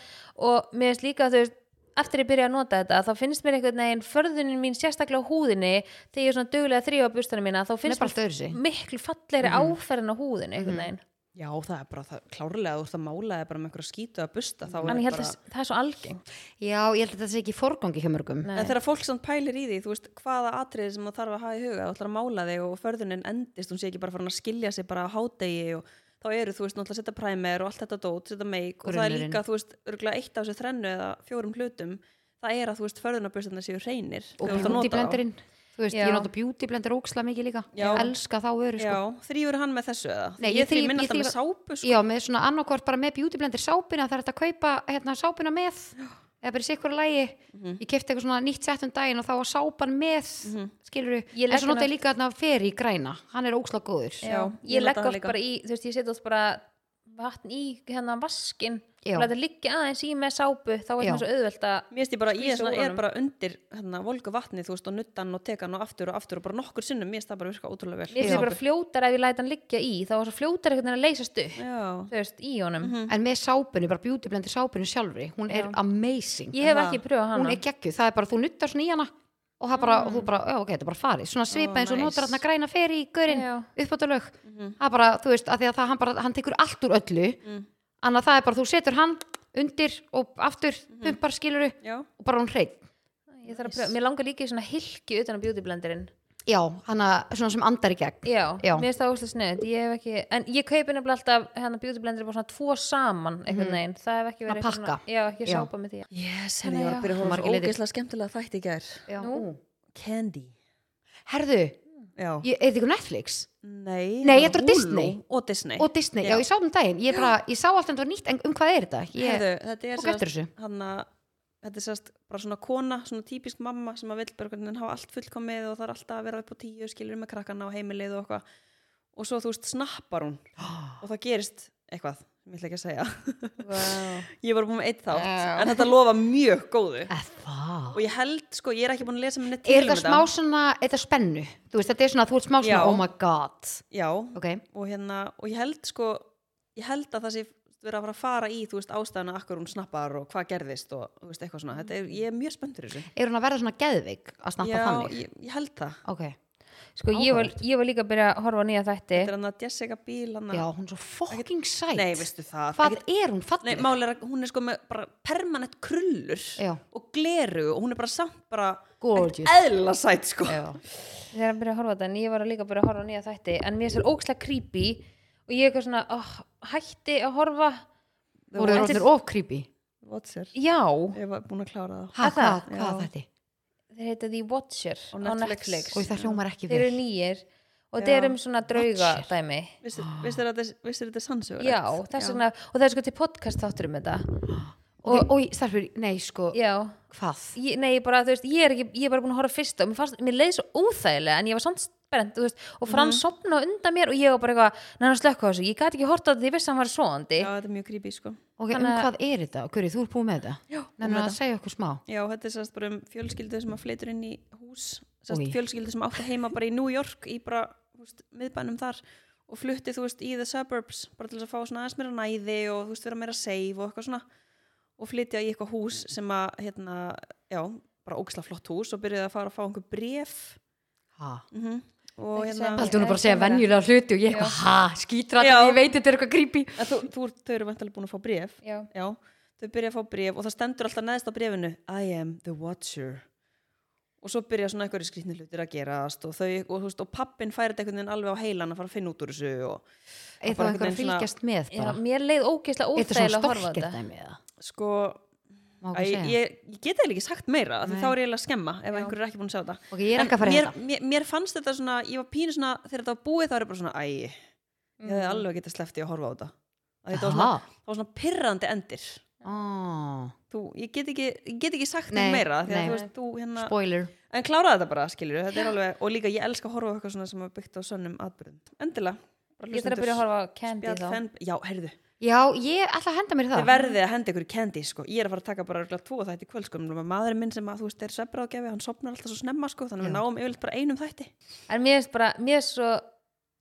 Speaker 2: og mér finnst líka að þú veist eftir ég byrja að nota þetta þá finnst mér einhvern veginn förðunin mín sérstaklega á húðinni þegar ég er svona duglega að þrýfa bustana mína þá
Speaker 1: Nei,
Speaker 2: finnst
Speaker 1: bara Mhm.
Speaker 2: mér
Speaker 1: stöðursi
Speaker 2: miklu fallegri áferðin á húðinni
Speaker 1: Mhm.
Speaker 2: einhvern veginn
Speaker 3: já það er bara það, klárlega þú ert að mála eða bara með einhverja skítu að busta þá er
Speaker 2: en ég held
Speaker 3: bara...
Speaker 2: að það er svo algengt
Speaker 1: Já, ég held að þetta sé ekki í forgangi hjá mörgum
Speaker 2: Nei.
Speaker 3: En þegar fólk samt pælir í því, þú veist, hvaða atriði sem það þarf að hafa í huga, þú ætlar að mála þig og förðunin endist, hún sé ekki bara farin að skilja sig bara á hádegi og þá eru, þú veist, náttúrulega að setja præmer og allt þetta dót, setja meik og það er
Speaker 1: Grunnurinn.
Speaker 3: líka, þú veist, örgulega eitt af þessu þrennu eða fjórum hlutum, það er að, þú veist, förðunarbustarna séu hreinir.
Speaker 1: og
Speaker 3: þegar þú ert að nota
Speaker 1: beauty
Speaker 3: þá.
Speaker 1: blenderinn þú veist,
Speaker 2: Já.
Speaker 1: ég nota beauty blender ógeðslega mikið líka
Speaker 3: Já.
Speaker 1: Ég elska þá öru sko
Speaker 3: Já, þrýfur hann með þessu eða?
Speaker 1: Nei,
Speaker 3: Nei,
Speaker 1: ég
Speaker 3: ég
Speaker 1: þríf-
Speaker 3: þrýf minn
Speaker 1: ég
Speaker 3: alltaf með
Speaker 1: þríf-
Speaker 3: sápu, sko.
Speaker 1: Já, með svona annarkvort bara með beauty blender sápuna það er hægt að kaupa hérna, sápuna með eða bara í sikkur lægi
Speaker 3: Mhm.
Speaker 1: ég kefti eitthvað svona nýtt sett um daginn og þá var sápan með mm -hmm. skilur
Speaker 2: Ég
Speaker 1: en
Speaker 2: legg
Speaker 1: svo nota ég
Speaker 2: hana-
Speaker 1: líka hérna fer í græna hann er óksla góður
Speaker 3: Já,
Speaker 2: ég
Speaker 3: ég nota
Speaker 2: legg
Speaker 3: það
Speaker 2: oft
Speaker 3: líka.
Speaker 2: bara í, þú veist, ég setja oft bara vatn í hérna vaskin
Speaker 1: Já.
Speaker 2: og þetta liggja aðeins í með sápu þá er
Speaker 1: Já.
Speaker 2: það svo auðvelt að
Speaker 3: Mér finnst ég bara, ég er,
Speaker 2: Skvísa
Speaker 3: svona,
Speaker 2: úr
Speaker 3: er
Speaker 2: honum.
Speaker 3: bara undir hérna, volgu vatni, þú veist, og nuttan og tekan og aftur og aftur og bara nokkur sinnum, mér finnst það bara virka ótrúlega vel.
Speaker 2: mér finnst
Speaker 1: Já.
Speaker 2: ég bara fljótar ef ég læt hann liggja í þá er svo fljótar einhvern veginn að leysast upp
Speaker 3: Já,
Speaker 2: þú veist, í honum
Speaker 1: Mm. en með sápunni, bara beauty blendi sápunni sjálfri hún er amazing
Speaker 2: ég hef
Speaker 3: Það-
Speaker 2: ekki pröfað
Speaker 1: hún
Speaker 2: hana
Speaker 1: er geggjuð, það er bara þú nuttar svona í hana og það bara, og þú bara, já ok, þetta er bara farið svona svipa
Speaker 3: Ó,
Speaker 1: eins og
Speaker 3: nice.
Speaker 1: notar hann að græna feri í gaurinn
Speaker 2: Já.
Speaker 1: uppáttalög, það er bara, þú veist, að því að það, hann bara, hann tekur allt úr öllu annað það er bara, þú setur hann undir og aftur, pumpar skiluru
Speaker 3: já,
Speaker 1: og bara hún hreitt,
Speaker 2: Ég þarf að pröfa, mér langar líka í svona hilki utan á beauty blenderinn
Speaker 1: já, hann að svona sem andar í gegn,
Speaker 2: Já,
Speaker 1: Já.
Speaker 2: mér finnst það óslega sniðut Ég hef ekki, en ég kaupi nefnilega alltaf hérna beauty blenderinn bara svona tvo saman einhvern veginn, það hef ekki
Speaker 1: Svona Mhm.
Speaker 2: verið
Speaker 1: pakka.
Speaker 2: svona- Já, ekki
Speaker 1: Já.
Speaker 2: sápa með því
Speaker 3: yes,
Speaker 2: Þannig
Speaker 3: hérna ég var
Speaker 2: já.
Speaker 3: að byrja að horfa á
Speaker 1: Margir
Speaker 3: svo
Speaker 1: litir.
Speaker 3: ógeðslega skemmtilega þætt í gær.
Speaker 1: já,
Speaker 2: Nú.
Speaker 1: ú.
Speaker 3: Candy.
Speaker 1: herðu,
Speaker 3: Já.
Speaker 1: ég, er þetta ykkur Netflix
Speaker 3: Nei,
Speaker 1: Nei,
Speaker 3: það
Speaker 1: þetta er
Speaker 3: var Hulu
Speaker 1: Disney.
Speaker 3: Og Disney.
Speaker 1: og Disney, já,
Speaker 3: Já.
Speaker 1: ég sá um daginn ég, bara, ég sá alltaf þetta var nýtt, en um hvað er þetta? Ég,
Speaker 3: Heyrðu, þetta er
Speaker 1: og eftir þessu,
Speaker 3: hann að þetta er sérst bara svona kona, svona típisk mamma sem að vill bara hvernig hafa allt fullkomið og það er alltaf að vera upp á tíu, skilur með krakkana og heimilið og eitthvað og svo þú veist, snappar hún og það gerist eitthvað, sem ég ætla ekki að segja
Speaker 2: wow.
Speaker 3: ég var búin með eitt þátt,
Speaker 2: Já.
Speaker 3: en þetta lofa mjög góðu
Speaker 1: eða það
Speaker 3: og ég held, sko, ég er ekki búin að lesa minni til
Speaker 1: er
Speaker 3: um
Speaker 1: það smá svona, er það spennu þú veist, þetta er svona, þú ert smá svona,
Speaker 3: Já.
Speaker 1: oh my god
Speaker 3: já,
Speaker 1: ok,
Speaker 3: og hérna, og ég held sko ég held að það sé verið að fara að fara í þú veist, ástæðana akkur hún snappar og hvað gerðist og þú veist, eitthvað svona, þetta er, ég er mjög spenntur í þessu
Speaker 1: er hún að verða svona geðvig að snappa
Speaker 3: já,
Speaker 1: þannig
Speaker 3: ég, ég held það
Speaker 1: ok,
Speaker 2: Sko, ég var,
Speaker 1: Áhugavert.
Speaker 2: ég var líka að byrja að horfa á nýja þætti
Speaker 3: Þetta er hann að Jessica Biel hann
Speaker 1: já, hún er svo fucking sæt
Speaker 3: Nei, veistu það
Speaker 1: hvað
Speaker 3: ekkit,
Speaker 1: er hún
Speaker 3: Nei,
Speaker 1: falleg
Speaker 3: mál er að hún er sko með bara permanent krullur
Speaker 1: Já.
Speaker 3: og gleru og hún er bara samt bara
Speaker 1: Gorgeous.
Speaker 3: eðla sætt sko
Speaker 1: Já.
Speaker 2: þegar hann byrjaði að horfa á þetta en ég var líka að byrja að horfa á nýja þætti en mér er svo ókslega creepy og ég er eitthvað svona oh, hætti að horfa
Speaker 1: voru það orðinir of creepy
Speaker 3: Watcher
Speaker 2: já,
Speaker 3: Ég var búin að klára það
Speaker 1: ha,
Speaker 2: Er það?
Speaker 1: hvað, hvað
Speaker 3: Já.
Speaker 1: þetta
Speaker 2: þeir heita The Watcher á
Speaker 3: Á Netflix.
Speaker 2: Netflix,
Speaker 1: og það hljómar ekki
Speaker 2: þeir
Speaker 1: vel
Speaker 2: eru nýjir og
Speaker 3: Já.
Speaker 2: þeir eru um svona drauga dæmi
Speaker 3: Vissir þetta vissir þetta er sannsögur
Speaker 2: já, þess vegna, og það er sko til podcast þáttur um þetta
Speaker 1: og, og, og starfur, nei sko
Speaker 2: já,
Speaker 1: hvað,
Speaker 2: ég, nei, ég bara, þú veist, ég er ekki ég er bara búin að horfa fyrst og mér, fannst, mér leið svo óþægilega en ég var samt spennt, þú veist, og Frans mm undan mér og ég var bara eitthvað, neina slökk á þessu ég gæti ekki hort á þetta, ég vissi að hann var svoandi
Speaker 3: Já, þetta er mjög creepy sko
Speaker 1: ok, um
Speaker 2: Þannig að-
Speaker 1: hvað er þetta Guri, þú ert búið með þetta
Speaker 3: Já,
Speaker 1: nefnir að segja okkur smá
Speaker 3: Já, þetta er sérst bara um fjölskyldu sem að flytur inn í hús sérst
Speaker 1: Új.
Speaker 3: fjölskyldu sem átti heima bara í New York í bara, þú veist, miðbænum þar og flutti, þú veist, í the suburbs bara til þess að fá svona aðeins meira næði og þú veist, vera meira safe og eitthvað svona og flytja í eitthvað hús sem að, hérna, já, bara ógisla flott hús og byrjuði að fara að fá einhver bref
Speaker 1: ha.
Speaker 3: mm og
Speaker 2: Ekki
Speaker 3: hérna
Speaker 2: segja
Speaker 1: Haldur hún er bara að segja venjulega hluti og ég eitthvað, ha, skítrætt,
Speaker 3: Já.
Speaker 1: ég veit þetta er eitthvað creepy
Speaker 3: En þú, þú, ert- þau eru vantilega búin að fá bref
Speaker 2: já,
Speaker 3: já, þau byrja að fá bref og það stendur alltaf neðst á brefinu I am the watcher og svo byrja svona einhverju skrýtni hlutir að gerast og, þau, og, þú veist, og pappin færi þetta einhvern veginn alveg á heilan að fara að finna út úr þessu og,
Speaker 1: er það
Speaker 3: bara
Speaker 1: einhver
Speaker 3: einhvern
Speaker 1: að
Speaker 3: veginn svona-
Speaker 1: fylgjast með
Speaker 2: Já,
Speaker 1: bara
Speaker 2: mér leið ógeðslega
Speaker 1: er þetta svona
Speaker 2: óþægilega að horfa á
Speaker 1: storkett
Speaker 2: þetta.
Speaker 1: dæmi eða?
Speaker 3: sko,
Speaker 1: Má
Speaker 3: að,
Speaker 1: okkur segja?
Speaker 3: ég, ég, ég get eiginlega ekki sagt meira af því
Speaker 1: Nei.
Speaker 3: þá er ég eiginlega að skemma ef einhverju er ekki búin að sjá þetta
Speaker 1: ok, ég er
Speaker 3: En
Speaker 1: ekki að fara í
Speaker 3: mér,
Speaker 1: þetta
Speaker 3: mér, mér fannst þetta svona, ég var pínu svona þegar þetta var búið þá er ég bara svona, æ ég hefði alveg getað sleppt í að horfa á þetta að þetta
Speaker 1: Mm.
Speaker 3: var svona,
Speaker 1: Aha.
Speaker 3: það var svona pirrandi endir
Speaker 1: Ah,
Speaker 3: þú, ég get ekki, ég get ekki sagt
Speaker 1: Nei,
Speaker 3: nei, meira því að
Speaker 1: nei.
Speaker 3: þú veist, þú hérna
Speaker 1: spoiler
Speaker 3: En kláraði þetta bara, skilur þetta er alveg, og líka ég elska að horfa á eitthvað svona sem er byggt á sönnum atbyrðum. Endilega. bara
Speaker 2: Ég þarf að
Speaker 3: hlustendur,
Speaker 2: byrja að horfa á Candy
Speaker 3: spjall,
Speaker 2: þá.
Speaker 3: fan- Já, heyrðu,
Speaker 1: Já, ég ætla að henda mér í
Speaker 3: þið
Speaker 1: það
Speaker 3: verðið að henda ykkur í candy, sko. Ég er að fara að taka bara örugglega tvo þætti í kvöld, sko. Nefnilega Maðurinn minn sem að, þú veist, er svefbráðgefi, hann sopnar alltaf svo snemma, sko, þannig að við
Speaker 1: Já.
Speaker 3: náum yfirleitt bara einum þætti.
Speaker 2: En mér er bara, mér er svo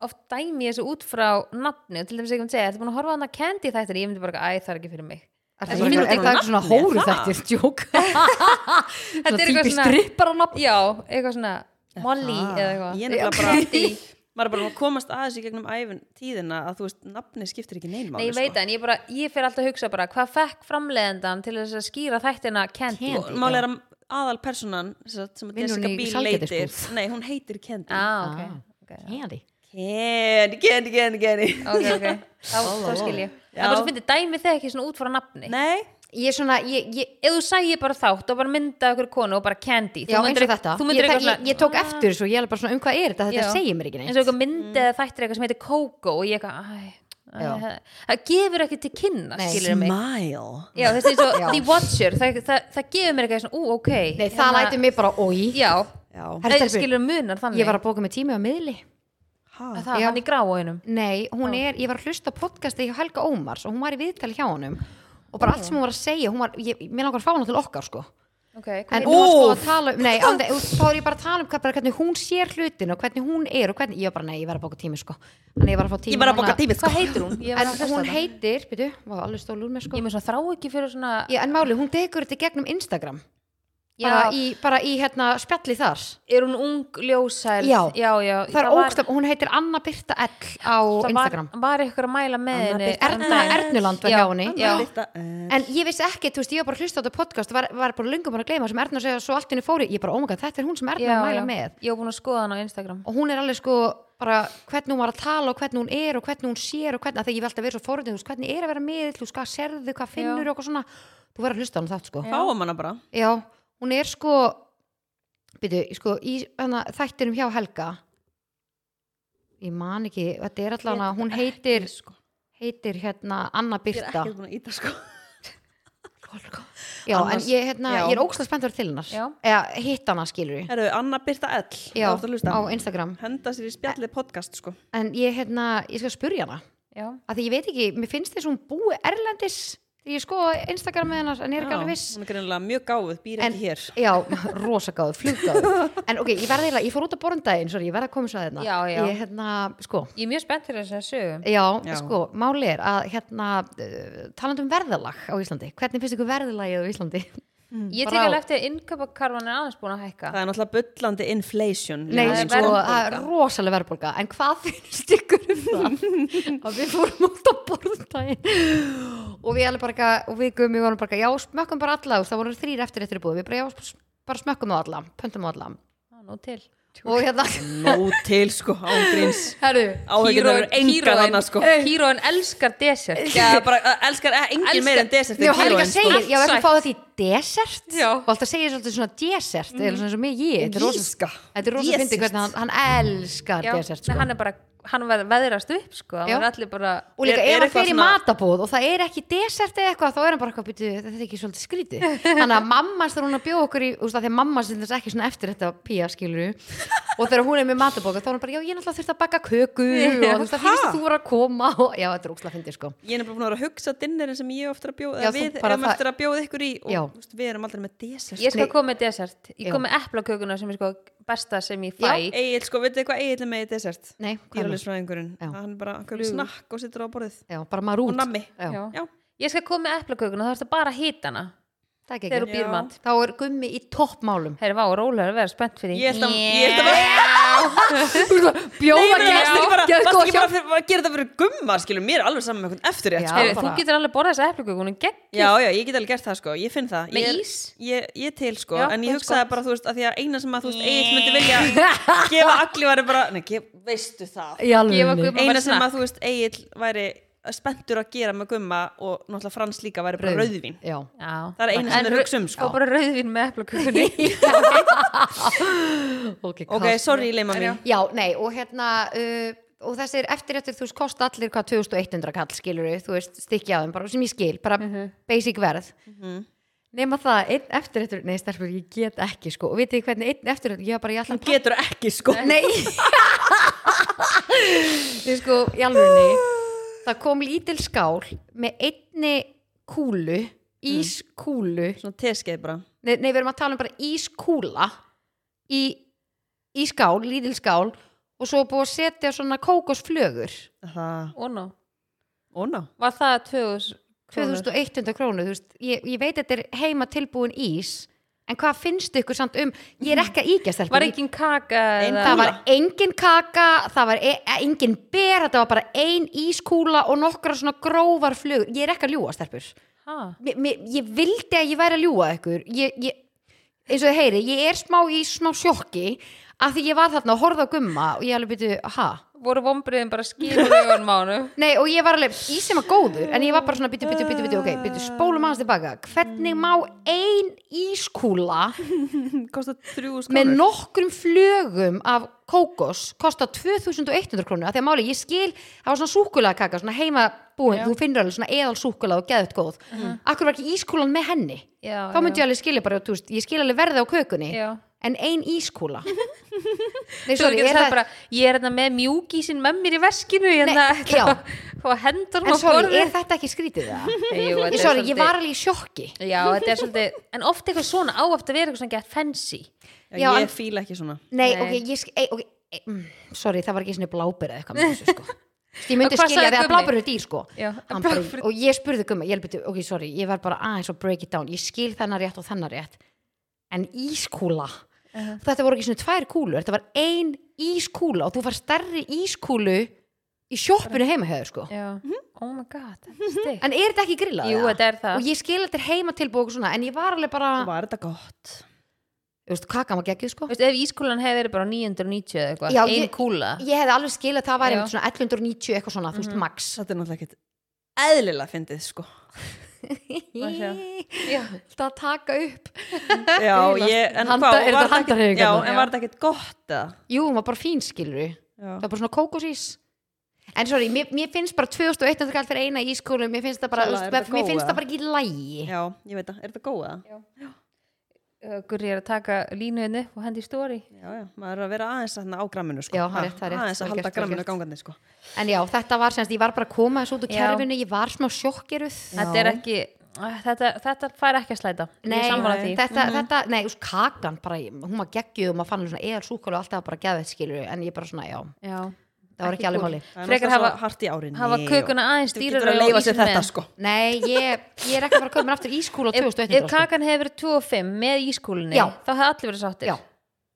Speaker 2: oft dæmi ég þessu út frá nafni og til dæmis ég kom að segja, ertu búin að horfa á hana Candy þættir ég myndi bara, æ, það er ekki fyrir mig.
Speaker 1: Er það
Speaker 2: Þetta er
Speaker 1: svona- er
Speaker 2: mínútur
Speaker 1: það ekki
Speaker 3: á
Speaker 1: svona
Speaker 3: nafni,
Speaker 1: hóru
Speaker 3: er það?
Speaker 1: þættir djók?
Speaker 2: Þetta
Speaker 1: Svona
Speaker 2: er eitthvað
Speaker 1: típist
Speaker 2: svona-
Speaker 1: strippar á nafn
Speaker 2: Já, eitthvað svona Molly eða eitthvað.
Speaker 3: Ah, Ég er
Speaker 2: Já,
Speaker 3: nefnilega bara,
Speaker 2: Candy.
Speaker 3: maður er bara að komast aðeins í gegnum æfin tíðina að, þú veist, nafni skiptir ekki sko. neinmáli,
Speaker 2: Nei, ég
Speaker 1: sko.
Speaker 2: veit það, en ég bara, ég fer alltaf að hugsa bara, hvað fekk framleiðendan til þess að skýra þættina Candy?
Speaker 1: Candy.
Speaker 3: Mál er að aðal personan sem að
Speaker 1: Vinnur hún
Speaker 3: Jessica
Speaker 1: í
Speaker 3: Biel leitir,
Speaker 1: sælgætisbúð?
Speaker 3: nei, hún heitir Candy.
Speaker 2: Ah, ok. ok.
Speaker 1: Hendi
Speaker 3: Candy, Candy, Candy, Candy.
Speaker 2: Ok, ok, þá, þá skil ég
Speaker 3: Já.
Speaker 2: Það er bara svo fyndið, dæmi þið ekki svona út frá nafni
Speaker 3: Nei,
Speaker 1: Ég er svona, ég, ég
Speaker 2: ef þú sæi bara þátt og bara mynda okkur konu og bara candy
Speaker 1: Já,
Speaker 2: þú
Speaker 1: eins
Speaker 2: myndir,
Speaker 1: og þetta
Speaker 2: þú
Speaker 1: ég,
Speaker 2: myndir
Speaker 1: það-
Speaker 2: eitthvað Ah.
Speaker 1: ég, ég tók eftir þessu, ég er bara svona um hvað er þetta
Speaker 2: Já.
Speaker 1: Þetta segir mér ekki
Speaker 2: eins og
Speaker 1: neitt
Speaker 2: eitthvað myndi eða þættir eitthvað sem heitir Coco og ég eitthvað æ, æ,
Speaker 1: Já.
Speaker 2: það- það gefur ekki til kynna
Speaker 1: Nei.
Speaker 2: skilur mig
Speaker 3: smile.
Speaker 2: já, þessi eins og
Speaker 1: Já.
Speaker 2: The Watcher það, það, það gefur mér eitthvað svona ú ok
Speaker 1: Nei, það lætur mig bara ói
Speaker 2: já,
Speaker 3: Já.
Speaker 1: Herri, stelpur.
Speaker 2: skilur munar þannig
Speaker 1: Ég var að bóka með tími á miðli
Speaker 3: Ha?
Speaker 2: það
Speaker 1: Já.
Speaker 2: hann í gráinum
Speaker 1: Nei, hún er, ég var að hlusta á podcastið hjá Helga Ómars og hún var í viðtali hjá honum og bara allt sem hún var að segja, hún var, ég, mér langar að fá hana til okkar sko
Speaker 2: okay,
Speaker 1: en
Speaker 2: hvað-
Speaker 1: hún var sko að tala um, nei, andi, þá er ég bara að tala um hvað- bara hvernig hún sér hlutin og hvernig hún er og hvernig, ég var bara, nei, ég verð að bóka tími sko Þannig ég var að fá tími
Speaker 3: Ég var að
Speaker 1: núna.
Speaker 3: bóka tími sko.
Speaker 2: hvað heitir hún? Ég
Speaker 1: En
Speaker 2: var að hlusta á
Speaker 1: hún
Speaker 2: það.
Speaker 1: heitir, byrju, var alveg stólu úr mér sko
Speaker 2: ég með svona þrá ekki fyrir svona
Speaker 1: Já, en máli, hún tekur þetta í gegnum Instagram bara
Speaker 2: Já.
Speaker 1: í, bara í hérna, spjalli þar
Speaker 2: er hún ung ljósæl
Speaker 1: Já.
Speaker 2: já, já
Speaker 1: Það er
Speaker 2: var-
Speaker 1: ógstaf, hún heitir Anna Birta L á
Speaker 2: það
Speaker 1: Instagram
Speaker 2: var, var ykkur að mæla með
Speaker 3: Anna
Speaker 2: henni
Speaker 3: Birta
Speaker 2: um
Speaker 1: Erna,
Speaker 2: daginn.
Speaker 1: Ernuland var
Speaker 2: Já,
Speaker 1: hjá henni
Speaker 2: Já.
Speaker 3: Birta, eh,
Speaker 1: En ég vissi ekki, þú veist, ég var bara að hlusta á þetta podcast og var, var bara lungum bara að gleyma sem Erna segja svo allt inni fóri, ég bara, oh my god, þetta er hún sem Erna er
Speaker 2: já,
Speaker 1: að mæla
Speaker 2: já.
Speaker 1: með
Speaker 2: ég var búin að skoða hann á Instagram
Speaker 1: og hún er alveg sko, bara hvernig hún var að tala og hvernig hún er og hvernig hún sér og hvernig, af því ég veldi að vera svo fórhundin, þú veist, hvernig er að vera með þú veist, hvað serðu, hvað finnur og eitthvað svona þú verður að hlusta á hana þátt, sko já.
Speaker 3: Fáum hana bara
Speaker 1: hún er sko byrju, sko, í hana, þættinum hjá Helga ég man ekki, þetta er allan að hún heitir,
Speaker 3: sko.
Speaker 1: heitir hérna Anna
Speaker 3: Ég er
Speaker 1: Birta
Speaker 3: ekkert búin að íta sko
Speaker 1: Já,
Speaker 3: Annars-
Speaker 1: en ég, hérna,
Speaker 3: já.
Speaker 1: ég er ógstlega spenntur til hennar
Speaker 2: Já.
Speaker 1: eða hitt hana skilur ég
Speaker 3: Herru, Anna Birta L
Speaker 1: Já,
Speaker 3: Þú ert að hlusta.
Speaker 1: á Instagram
Speaker 3: Henda sér í spjallið podcast sko
Speaker 1: en ég, hérna, ég skal spurja hana
Speaker 2: já.
Speaker 1: að því ég veit ekki, mér finnst þess að hún búi erlendis þegar ég skoða Instagram með hennar en ég er ekki
Speaker 3: Já,
Speaker 1: alveg viss
Speaker 3: Hún er greinilega mjög gáð, býr
Speaker 1: En-
Speaker 3: ekki hér
Speaker 1: Já, rosagáð, fluggáð en ok, ég verði eiginlega, ég fór út að borundaginn sorry, ég verði að koma svo að hérna
Speaker 2: Já, já.
Speaker 1: ég, hérna, sko,
Speaker 2: ég er mjög spennt fyrir þess að sögum
Speaker 1: já,
Speaker 3: Já.
Speaker 1: sko, máli er að hérna, uh, talandi um verðalag á Íslandi hvernig finnst ykkur verðalagið á Íslandi?
Speaker 2: ég tek
Speaker 1: Bara á-
Speaker 2: alveg eftir að innkaupakarvan er aðeins búin að hækka
Speaker 3: Það er náttúrulega bullandi inflation
Speaker 1: Nei,
Speaker 3: Lína,
Speaker 2: er
Speaker 1: sko,
Speaker 2: verðbólga.
Speaker 1: það er rosalega verðbólga En hvað finnst ykkur um það? að við fórum út á borðundaginn Og við alveg bara eitthvað- Og við gummi vorum bara eitthvað, Já, smökkum bara alla Það voru þrýr eftir eftir í búið Við bara, já, sp- bara smökkum á alla Pöntum á alla
Speaker 2: Já, nú til
Speaker 1: Og hérna,
Speaker 3: Nó til sko, ángríns
Speaker 2: herru,
Speaker 3: Áhyggjurnar eru engar þarna, sko.
Speaker 2: híróin elskar desert
Speaker 3: Já, bara uh, elskar eh, engin
Speaker 2: Elskar-
Speaker 3: meira en desert
Speaker 1: já, hann líka
Speaker 3: sko.
Speaker 1: segir Já, við ætlum að fá
Speaker 2: Allt
Speaker 1: þetta í desert
Speaker 2: Já. Mhm.
Speaker 1: Og alltaf segir svolítið svona desert mm. Eða svona eins og mig ég Þetta er rosa-
Speaker 3: Gíska.
Speaker 1: Þetta er rosa
Speaker 3: Desert.
Speaker 1: fyndið hvernig hann, hann elskar
Speaker 2: já,
Speaker 1: desert sko.
Speaker 2: nei, hann er bara hann ver- veðrast upp sko hann
Speaker 1: Já.
Speaker 2: er allir bara
Speaker 1: og líka ef
Speaker 3: Er- er
Speaker 1: hann
Speaker 3: eitthvað
Speaker 1: fer í
Speaker 3: svona-
Speaker 1: matabóð og það er ekki desert eða eitthvað þá er hann bara eitthvað býtu, þetta er ekki svolítið skrítið þannig að mamma þarf hún að bjóða okkur í úst, þegar mamma sem þess ekki svona eftir þetta pía skilur og þegar hún er með matabóð þá er hann bara já ég náttúrulega þurft að baka köku og þú veist það finnst þú voru að koma og, já þetta er ógslag fyndið sko
Speaker 3: Ég er nefnilega búin að vera að hugsa dinnerin sem ég ofta að bjóða
Speaker 1: Já,
Speaker 3: eða Við
Speaker 1: þú bara
Speaker 3: erum
Speaker 1: það-
Speaker 3: eftir að bjóða ykkur í og
Speaker 1: Já.
Speaker 3: þú veist, við erum aldrei með desert
Speaker 2: ég skal
Speaker 1: Nei.
Speaker 2: koma með desert ég
Speaker 1: Já.
Speaker 2: kom með eplakökuna sem er sko besta sem ég fæ
Speaker 1: Já.
Speaker 3: Egil, sko, veitu hvað Egil er með í desert?
Speaker 1: Nei, hvað er með?
Speaker 3: Dýralisfræðingurinn
Speaker 1: Já.
Speaker 3: Hann er bara einhverjum snakk og situr á borðið
Speaker 1: já bara maður
Speaker 3: Og
Speaker 1: út
Speaker 3: nammi.
Speaker 1: já,
Speaker 2: Já.
Speaker 3: Já,
Speaker 2: ég skal koma með eplakökuna þá ertu bara að hita hana
Speaker 1: það er
Speaker 2: þegar
Speaker 1: ekki
Speaker 2: þú
Speaker 1: ekki
Speaker 2: býr
Speaker 3: Já.
Speaker 2: mat
Speaker 1: þá er gummi í toppmálum
Speaker 2: Herri, vá, rólega að vera spennt fyrir
Speaker 3: ég held að Ég held að Nei,
Speaker 1: bjóða
Speaker 3: menn, varstu ekki bara,
Speaker 1: geðgóða
Speaker 3: varstu ekki
Speaker 1: hjálp.
Speaker 3: bara fyrir, að gera þetta fyrir gumma, skilur, mér er alveg saman með einhvern eftir
Speaker 1: Já.
Speaker 3: rétt, sko.
Speaker 2: Heyrðu, þú
Speaker 1: bara-
Speaker 2: getur alveg borðað þessa eplakökuna gegn
Speaker 3: Já, já, ég get alveg gert það, sko, ég finn það.
Speaker 2: Með
Speaker 3: ég, er-
Speaker 2: ís?
Speaker 3: Ég, ég til, sko,
Speaker 2: Já,
Speaker 3: en ég
Speaker 2: það er
Speaker 3: hugsaði
Speaker 2: gott.
Speaker 3: bara, þú veist, að því að eina sem að, þú veist, Egil myndi vilja gefa allir væri bara, nei, gef, veistu það.
Speaker 1: Í alvörunni.
Speaker 2: Gefa gumma- bara
Speaker 3: Eina sem
Speaker 2: snakk.
Speaker 3: að, þú veist, Egil væri spenntur að gera með gumma og náttúrulega Frans líka væri bara rauðvín.
Speaker 1: já
Speaker 2: Já.
Speaker 3: Það er eina sem
Speaker 2: En
Speaker 3: þeir
Speaker 2: rau-
Speaker 3: hugsa um, sko.
Speaker 2: og bara rauðvin með eplakökunni
Speaker 1: ok,
Speaker 3: Ok,
Speaker 1: kast-
Speaker 3: sorry, leima mín.
Speaker 1: Já, nei, og hérna uh, og þessir eftirrættir, þú veist, kosta allir hvað 2100 kall, skilur þú veist, stykki á þeim, bara sem ég skil, bara
Speaker 2: Mhm.
Speaker 1: basic verð.
Speaker 3: Mhm.
Speaker 1: Nema það, einn eftirrættur, nei, stelpur, ég get ekki, sko, og vitið þið hvernig einn eftirrættur, ég var bara, ég ætla að
Speaker 3: Hún getur ekki, sko.
Speaker 1: Nei Þið sko, í alvegni Það kom lítil skál með einni kúlu ískúlu
Speaker 3: Svona teskeið bara.
Speaker 1: nei, nei, við erum að tala um bara ískúla í, í skál, lítil skál og svo búið að setja svona kókosflögur
Speaker 3: Það,
Speaker 2: og ná,
Speaker 3: ó ná.
Speaker 2: var það 2000 krónur?
Speaker 1: 2100 krónu, þú veist ég, ég veit þetta er heima tilbúin ís en hvað finnst ykkur samt um ég er ekki að ígjast
Speaker 2: var engin kaka
Speaker 3: Ein-
Speaker 1: það
Speaker 2: eða,
Speaker 1: var engin kaka, það var e e- engin ber, þetta var bara ein ískúla og nokkra svona grófar flugur ég er ekki að ljúga, stelpur
Speaker 2: ha,
Speaker 1: mér, mér, ég vildi að ég væri að ljúga ykkur ég, ég, eins og þið heyri, ég er smá í smá sjokki af því ég var þarna að horfa á gumma og ég alveg byrju, ha?
Speaker 2: voru vombriðin bara skýrur auðan mánu
Speaker 1: Nei, og ég var alveg, ísinn var góður en ég var bara svona, byrju, byrju, byrju, byrju, ok byrju, spólum aðeins tilbaka, hvernig má ein ískúla
Speaker 3: Kostar þrjú
Speaker 1: með
Speaker 3: skálur.
Speaker 1: nokkrum flögum af kókos kosta 2100 krónu af því að máli, ég skil, það var svona súkulega kaka svona heimabúin, þú finnur alveg svona eðal súkulega og geðut góð akkur var ekki ískúlan með henni
Speaker 2: Mhm. Já,
Speaker 1: þá myndi ég alveg skilja bara, þú veist, ég skil alveg verði á kökunni
Speaker 2: já,
Speaker 1: en ein ískúla Nei,
Speaker 2: Svo
Speaker 1: sorry,
Speaker 2: getur
Speaker 1: er
Speaker 2: það
Speaker 1: það,
Speaker 2: bara, ég er hérna með mjúkísinn með mér í veskinu hérna,
Speaker 1: Nei, já.
Speaker 2: og hendur
Speaker 1: en sorry, er þetta ekki skrítið það?
Speaker 2: Jú, þetta
Speaker 1: Ég,
Speaker 2: er
Speaker 1: sorry, ég
Speaker 2: svolítið-
Speaker 1: var alveg í sjokki
Speaker 2: Já, þetta er svolítið, en oft eitthvað svona á aftur að vera eitthvað svona gett fancy
Speaker 3: Já,
Speaker 1: Já,
Speaker 3: ég
Speaker 1: en-
Speaker 3: fíla ekki svona
Speaker 1: Nei,
Speaker 2: Nei.
Speaker 1: ok, ég sk- ei, ok, ei, mm, sorry, það var ekki svona blábyrð eða eitthvað með þessu sko Ég myndi
Speaker 2: Og hvað
Speaker 1: skilja
Speaker 2: sagði
Speaker 1: því að
Speaker 2: Gummi?
Speaker 1: blábyrð er dýr sko
Speaker 2: Já,
Speaker 1: Hann bara,
Speaker 2: blábirðu-
Speaker 1: og ég spurði gummi, ég byrja, ok, sorry ég var bara aðeins að break it down, ég skil þennan rétt og þennan rétt, en ískúla þetta voru ekki svona tvær kúlur þetta var ein ískúla og þú far stærri ískúlu í sjoppinu heima hefur sko
Speaker 2: Já, oh my god, þetta er stig
Speaker 1: en er þetta ekki grillað?
Speaker 2: Jú,
Speaker 1: eða?
Speaker 2: þetta er það
Speaker 1: Mhm. og ég skil þetta er heima tilbúið svona, en ég var alveg bara,
Speaker 3: Var þetta gott?
Speaker 1: þú veist, kakan var geggið sko
Speaker 2: Veistu, ef ískúlan hefði verið bara 990 eða eitthvað,
Speaker 1: Já,
Speaker 2: ein
Speaker 1: ég-
Speaker 2: kúla
Speaker 1: ég hefði alveg skil að það væri
Speaker 2: Já. Mhm.
Speaker 1: einmitt svona 1190 eitthvað svona, þú veist, max
Speaker 3: Þetta er náttúrulega ekkert eðlilega fyndið sko
Speaker 2: Má sjá.
Speaker 1: Alltaf
Speaker 2: Já,
Speaker 1: að taka upp
Speaker 3: Já, ég, en
Speaker 1: Handa-
Speaker 3: hvað,
Speaker 1: eru þetta
Speaker 3: var þetta ekkert-
Speaker 1: handahreyfingarnar?
Speaker 3: Já,
Speaker 2: Já.
Speaker 3: en var þetta ekkert gott eða?
Speaker 1: Jú, hún var bara fín skilur
Speaker 3: Já.
Speaker 1: það var bara svona kókosís En sorry, mér, mér finnst bara 2100 kall fyrir eina ískólu, mér finnst það bara,
Speaker 3: Sala,
Speaker 1: þú veist,
Speaker 3: er þetta
Speaker 1: mér
Speaker 3: góð,
Speaker 1: finnst
Speaker 3: eða?
Speaker 1: það bara ekki í lægi.
Speaker 3: Já, ég veit það, er þetta góð eða?
Speaker 2: Uh, Gurri er að taka línuðinu og hendi í stóri
Speaker 3: Já, já, maður er að vera aðeins þarna á gramminu sko
Speaker 1: Já, það er rétt, það er rétt,
Speaker 3: Aðeins
Speaker 1: vel
Speaker 3: að halda
Speaker 1: gert, vel
Speaker 3: gramminu
Speaker 1: gert.
Speaker 3: gangandi sko
Speaker 1: En já, þetta var semst, ég var bara að koma þessu út úr
Speaker 2: Já.
Speaker 1: kerfinu, ég var smá sjokkeruð.
Speaker 2: Þetta er ekki, Æ, þetta, þetta fær ekki að slæta Ég
Speaker 1: Nei,
Speaker 2: er sammála því
Speaker 1: þetta, þetta, nei, úst, kakan bara, hún var geggjuð og maður fann alveg svona eða súkólu og alltaf bara geðveitt skilur en ég bara svona, já,
Speaker 2: Já,
Speaker 1: það var
Speaker 2: Ekki
Speaker 1: ekki alveg
Speaker 2: kúl.
Speaker 1: máli.
Speaker 3: Það er
Speaker 2: Frekar
Speaker 3: náttúrulega svo
Speaker 2: hafa-
Speaker 3: hart í árinni
Speaker 2: hafa
Speaker 3: og-
Speaker 2: kökuna aðeins
Speaker 3: Þú
Speaker 2: dýrari
Speaker 3: getur að
Speaker 2: og
Speaker 3: leifa sér
Speaker 2: ísinn
Speaker 3: þetta
Speaker 2: með.
Speaker 3: sko
Speaker 1: Nei, ég, ég er ekki að fara að köpa mér aftur ískúlu á
Speaker 2: Ef, ef
Speaker 1: 2100. sko.
Speaker 2: kakan hefði verið 25 með ískúlunni
Speaker 1: Já.
Speaker 2: þá hefði allir verið sáttir
Speaker 1: Já,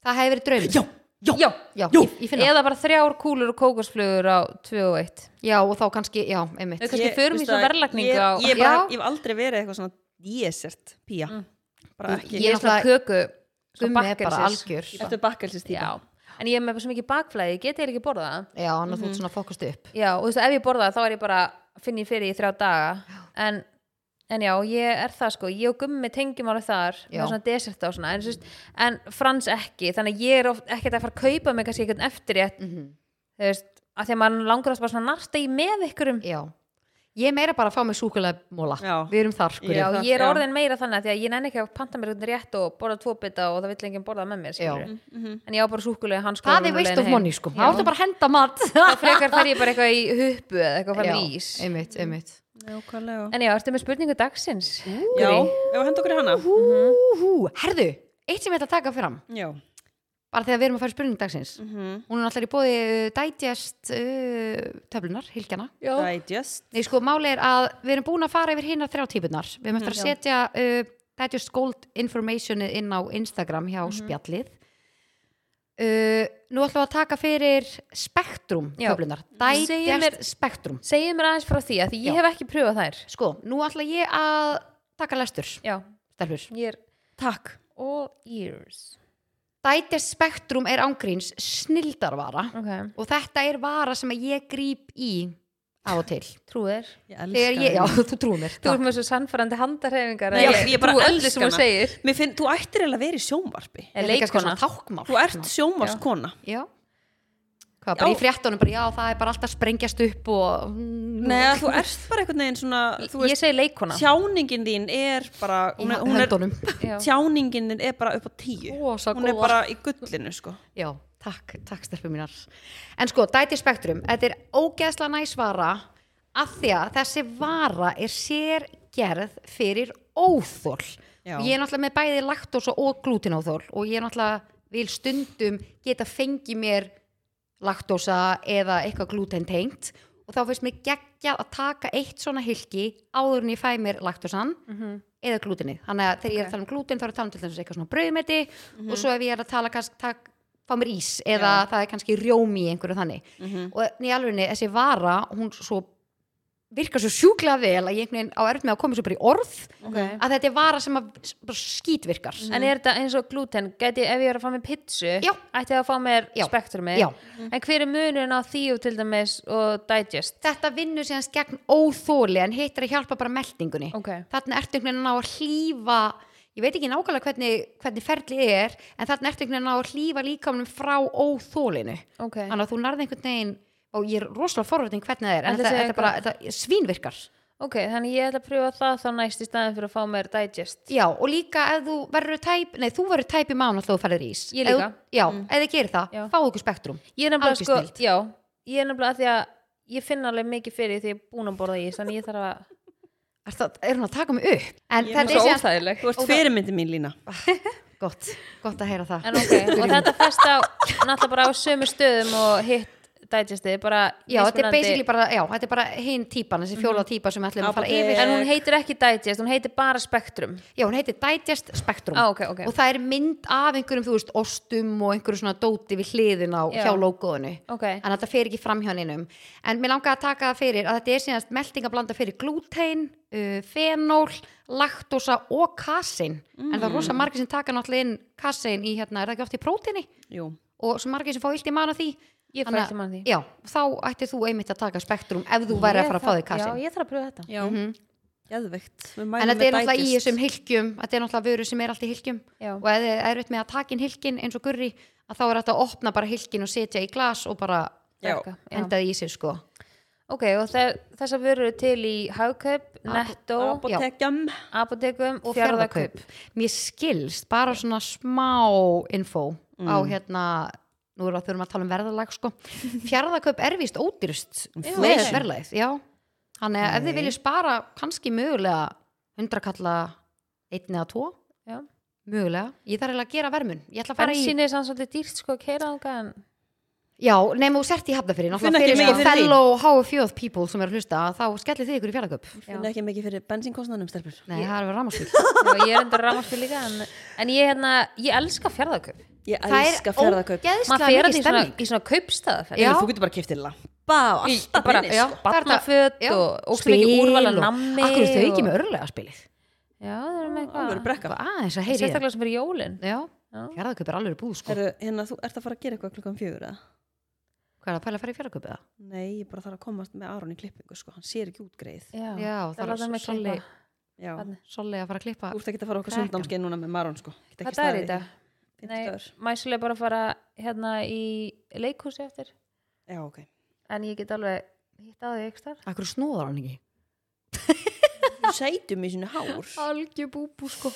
Speaker 1: það hefði verið draumur.
Speaker 3: Já, já,
Speaker 2: Já.
Speaker 1: Já,
Speaker 3: Jú.
Speaker 1: ég, ég finna.
Speaker 2: eða bara þrjár kúlur og kókosflugur á 2 og 1
Speaker 1: Já, og þá kannski, já, einmitt.
Speaker 2: Við kannski
Speaker 3: Ég-
Speaker 2: förum í
Speaker 3: veistu
Speaker 2: svona
Speaker 3: það,
Speaker 2: verðlagningu
Speaker 3: ég,
Speaker 2: á
Speaker 3: ég, bara,
Speaker 1: Já.
Speaker 3: ég hef aldrei verið eitthvað svona dessert pía bara
Speaker 1: ég-
Speaker 2: Mm.
Speaker 3: ekki
Speaker 2: ég er svona köku svo
Speaker 1: Gummi er bara
Speaker 2: bakkelsis.
Speaker 1: algjör.
Speaker 3: Þetta er bakkelsist
Speaker 2: Já.
Speaker 3: típa
Speaker 2: en ég er með svo mikið bakflæði, ég get eða ekki borða það
Speaker 1: Já, annars þú ert svona fókust upp.
Speaker 2: já, og þú veist, ef ég borða það þá er ég bara finn ég fyrir í þrjá daga en, en já, ég er það sko ég og gummi tengjum alveg þar
Speaker 1: Já.
Speaker 2: með svona desert og svona en, þú veist, en frans ekki, þannig að ég er oft ekkert að fara að kaupa mig kannski eitthvað eftir ég
Speaker 1: Mhm.
Speaker 2: þú veist, að því að maður langar oft bara svona narta í með ykkurum
Speaker 1: Já. Ég er meira bara að fá mér súkulegmóla.
Speaker 3: Já.
Speaker 1: Við erum þar, sko.
Speaker 2: Já,
Speaker 3: Ég-
Speaker 2: ég er
Speaker 3: já.
Speaker 2: orðin meira þannig að því að ég nenni ekki að panta mér eitthvað rétt og borða tvo bita og það vill enginn borða með mér
Speaker 1: Já.
Speaker 2: skilurðu.
Speaker 3: Mhm.
Speaker 2: en ég á bara súkulega hans
Speaker 1: Það er waste of money, sko. Það áttu bara að henda mat.
Speaker 2: þá frekar fer ég bara eitthvað í huppu eða eitthvað fram í ís
Speaker 1: einmitt, einmitt.
Speaker 3: Nákvæmlega
Speaker 2: en já, ertu með spurningu dagsins
Speaker 3: Já, ef að henda okkur í hana
Speaker 1: Hú, Mhm. herðu, eitt sem ég ætla að taka fram,
Speaker 3: Já
Speaker 1: bara þegar við erum að fara í spurning dagsins.
Speaker 3: Mhm.
Speaker 1: Hún er alltaf í bóði uh, digest uh, töflunar, hilkjana.
Speaker 2: já,
Speaker 3: Digest
Speaker 1: Nei, sko, máli er að við erum búin að fara yfir hinnar þrjá típunar. Við erum
Speaker 2: Mm,
Speaker 1: eftir að setja uh, digest gold informationið inn á Instagram hjá
Speaker 2: Mhm.
Speaker 1: spjallið. Uh, nú ætlum við að taka fyrir spektrum
Speaker 2: Já.
Speaker 1: töflunar.
Speaker 2: Segðu mér-
Speaker 1: Digest spektrum.
Speaker 2: segið mér aðeins frá því að því ég
Speaker 1: Já.
Speaker 2: hef ekki pröfað þær
Speaker 1: Sko, nú ætla ég að taka lestur,
Speaker 2: já,
Speaker 1: stelfur.
Speaker 2: ég er
Speaker 3: Takk
Speaker 2: all ears
Speaker 1: Digest spektrum er ángríns snildarvara
Speaker 2: ok,
Speaker 1: og þetta er vara sem að ég grýp í á og til.
Speaker 2: trúir
Speaker 3: Ég
Speaker 1: Þegar
Speaker 3: elska
Speaker 1: ég, já,
Speaker 3: hana
Speaker 1: þú trúir mér.
Speaker 2: þú
Speaker 1: takk.
Speaker 2: ert með svo sannfærandi handarhefingar
Speaker 3: Nei, ég- ég bara elska
Speaker 2: sem þú
Speaker 3: hana.
Speaker 2: segir
Speaker 3: Mér finn, þú ættir eiginlega að vera í sjónvarpi
Speaker 1: Þetta
Speaker 2: er
Speaker 1: er kannski svona
Speaker 2: leikona
Speaker 1: tákmál.
Speaker 3: Þú ert sjónvarskona
Speaker 1: Já Hvað, bara
Speaker 3: Já.
Speaker 1: í fréttunum, bara já, það er bara alltaf að sprengjast upp og
Speaker 3: Nei, að þú ert bara einhvern veginn svona Þú
Speaker 2: ég
Speaker 3: veist,
Speaker 2: segi leikona
Speaker 3: tjáningin þín er bara Hún er,
Speaker 1: í
Speaker 3: hún er
Speaker 1: höndunum
Speaker 2: Já.
Speaker 3: Tjáningin þín er bara upp á tíu
Speaker 1: Rosa
Speaker 3: Hún er
Speaker 1: góða.
Speaker 3: bara í gullinu sko
Speaker 1: Já, takk, takk stelpum mínar En sko, Dæti Spektrum, þetta er ógeðsla næsvara af því að þessi vara er sér gerð fyrir óþól
Speaker 3: Já.
Speaker 1: og ég er náttúrulega með bæði laktósa og glútinóþól og ég er náttúrulega vil stundum geta fengið mér laktósa eða eitthvað glúten tengt og þá finnst mér geggjað að taka eitt svona hilki áður en ég fæ mér laktósan eða glútenið þannig að þegar ég er að tala um glúten þá er ég að tala um til þess eitthvað svona brauðmeti og svo ef ég er að tala kannski tak, fá mér ís eða það er kannski rjómi í einhverju þannig og í alvegni þessi vara hún svo virkar svo sjúklega vel að ég einhvern veginn á erfitt með að koma svo bara í orð
Speaker 3: Mhm.
Speaker 2: Ok.
Speaker 1: að þetta er vara sem að s- bara skítvirkar
Speaker 2: En er þetta eins og glúten, gæti ef ég er að fá mér pizzu,
Speaker 1: Já.
Speaker 2: ætti það að fá mér
Speaker 1: Já.
Speaker 2: spektrumi,
Speaker 1: Já.
Speaker 2: en hver er munurinn á því og til dæmis og digest?
Speaker 1: þetta vinnur síðan gegn óþóli en hittir að hjálpa bara meldingunni
Speaker 2: Ok,
Speaker 1: þarna ertu einhvern veginn að ná að hlýfa ég veit ekki nákvæmlega hvernig, hvernig ferlið er en þarna ertu einhvern veginn að ná að hlýfa líkamnum frá óþólinu
Speaker 2: ok.
Speaker 1: þannig að þú nærði einhvern veginn og ég er rosalega forvöldin hvernig það er en
Speaker 2: Ætli
Speaker 1: þetta,
Speaker 2: sé
Speaker 1: þetta, bara, þetta svínvirkar
Speaker 2: ok, þannig ég ætla að pröfa það þá næst í staðin fyrir að fá mér digest
Speaker 1: Já, og líka ef þú verður tæp, nei, þú verður tæp í mánu þá þú fælir ís.
Speaker 2: Ég
Speaker 1: Ef
Speaker 2: líka. Mm.
Speaker 1: þú- Já, ef þið gerir það,
Speaker 2: Já.
Speaker 1: fáu ykkur spektrum.
Speaker 2: ég er nefnilega
Speaker 1: Algjör
Speaker 2: sko,
Speaker 1: snilld.
Speaker 2: já ég er nefnilega að því að ég finn alveg mikið fyrir því ég er búin að borða ís þannig ég þarf að,
Speaker 1: Er, það, er hún að taka mig upp? En
Speaker 2: ég er
Speaker 1: þetta er
Speaker 2: svo
Speaker 1: síðan,
Speaker 2: óþægileg
Speaker 3: Þú ert fyrirmyndi mín lína
Speaker 1: gott, gott að heyra það.
Speaker 2: en ok, og þetta fæst á náttúrulega bara á sömu stöðum og hitt digestið, bara
Speaker 1: Já, þetta er
Speaker 2: mismunandi- Mhm.
Speaker 1: basically bara, já, þetta er bara hinn típan, þessi fjóla típa sem við ætlum að fara
Speaker 3: Apothe-
Speaker 1: yfir.
Speaker 2: en hún heitir ekki digest, hún heitir bara spektrum
Speaker 1: Já, hún heitir Digest Spectrum.
Speaker 2: Á, Ah, ok, ok.
Speaker 1: Og það er mynd af einhverjum, þú veist, ostum og einhverju svona dóti við hliðin á
Speaker 2: Já.
Speaker 1: hjá logoðinu.
Speaker 2: ok,
Speaker 1: en þetta fer ekki fram hjá neinum en mér langaði að taka það fyrir að þetta er síðan meltingablanda fyrir glútein uh, fenól, laktósa og kasin, en
Speaker 2: Mm.
Speaker 1: það er rosa margir sem taka náttúrulega inn kasin í hérna er það ekki oft í prótini
Speaker 3: Jú,
Speaker 1: og svo margir sem fá illt í mann á því
Speaker 2: ég fæ
Speaker 1: Þannig að-
Speaker 2: ekki mann því
Speaker 1: já, þá ættir þú einmitt að taka spektrum ef þú væri að fara að fá því kasin
Speaker 2: já, ég þarf að pröfa þetta
Speaker 3: já, Mhm. geðveikt Við mælum
Speaker 1: Mhm. en þetta
Speaker 3: með
Speaker 1: er náttúrulega í
Speaker 3: digest.
Speaker 1: þessum hilkjum þetta er náttúrulega vöru sem er allt í hilkjum
Speaker 2: Já.
Speaker 1: og ef þið er með að taka inn hilkin eins og gurri að þá er þetta að opna bara hilkin og setja í glas og bara
Speaker 3: Já.
Speaker 2: Drekka, já.
Speaker 1: endaði í sig sko
Speaker 2: ok, og þe- þessar vörur eru til í hagkaup, netto,
Speaker 3: Apotekjum
Speaker 2: apotekum og
Speaker 1: og
Speaker 2: fjárðakaup
Speaker 1: fjárðakaup mér skilst bara svona smá info á
Speaker 2: Mm.
Speaker 1: hérna nú erum við að þurfum að tala um verðalag sko fjárðakaup er vist ódýrust með
Speaker 3: Inflation.
Speaker 1: verðlagið, já þannig að ef þið viljið spara kannski mögulega 100 kalla einn eða tvo,
Speaker 2: Já.
Speaker 1: mögulega ég þarf eiginlega að gera vermun, ég ætla að fara
Speaker 2: Bensín er sann svolítið dýrt sko að keira ánga en
Speaker 1: í já, nema þú sért í hafnafyrir
Speaker 3: Finn ekki
Speaker 1: náttúrulega fyrir
Speaker 3: mikið
Speaker 1: sko
Speaker 3: fyrir því.
Speaker 1: fellow HFjóð people sem eru að hlusta þá skellir þið ykkur í fjárðakaup
Speaker 3: Finn ekki mikið fyrir bensínkostnanum stelpur
Speaker 1: nei, það er verið rámasvík
Speaker 2: já, ég er endur rámastu líka en, en ég, hérna, ég elska fjárðakaup
Speaker 3: Ég
Speaker 1: það
Speaker 3: elska
Speaker 1: er
Speaker 3: fjárðakaup
Speaker 1: ógeðslega
Speaker 2: maður
Speaker 1: mikið
Speaker 2: fer að í svona,
Speaker 1: stemning
Speaker 2: í svona kaupstæðaferð
Speaker 1: Já.
Speaker 3: Þú getur bara kiftið lampa og alltaf
Speaker 2: bara
Speaker 3: inni,
Speaker 1: já,
Speaker 3: sko.
Speaker 1: það er þetta-
Speaker 2: barnaföt
Speaker 1: já.
Speaker 2: og óslega mikið
Speaker 1: Spil
Speaker 2: úrvala
Speaker 1: og-
Speaker 2: nammi
Speaker 1: Akkur er þau ekki
Speaker 2: og-
Speaker 1: með örlega spilið
Speaker 2: já, það er með
Speaker 3: Alvöru
Speaker 2: eitthvað
Speaker 3: brekka.
Speaker 1: aðeins að heyri ég
Speaker 2: sérstaklega sem fyrir jólin
Speaker 1: já,
Speaker 2: Já.
Speaker 1: fjárðaköp er alveg búð sko
Speaker 3: Herru, hérna, þú ert að fara að gera eitthvað klukkan fjögur eða?
Speaker 1: hvað er að pæla að fara í fjárðaköp eða?
Speaker 3: Nei, ég bara þarf að komast með Aron í klippingu sko, hann sér ekki útgreið
Speaker 2: já,
Speaker 1: Já, það er
Speaker 2: það er
Speaker 1: svo-
Speaker 2: með klippa
Speaker 1: svolítið-
Speaker 3: Já,
Speaker 2: Þarna.
Speaker 1: Solli að fara að klippa
Speaker 3: þú ert ekki að fara á okkar
Speaker 1: Krakkan.
Speaker 3: sundámskeið núna með Aron sko Get ekki
Speaker 2: hvað það er
Speaker 3: staðið
Speaker 2: í dag?
Speaker 3: því.
Speaker 2: Nei,
Speaker 3: Fimmtudagur.
Speaker 2: mæsulega bara að fara hérna í leikhúsi eftir
Speaker 3: Já, ok
Speaker 2: en ég get alveg hitt á því ekki þar
Speaker 1: akkur snúðar hann ekki
Speaker 3: Þú sætum í sinu hár
Speaker 1: algjör búbú sko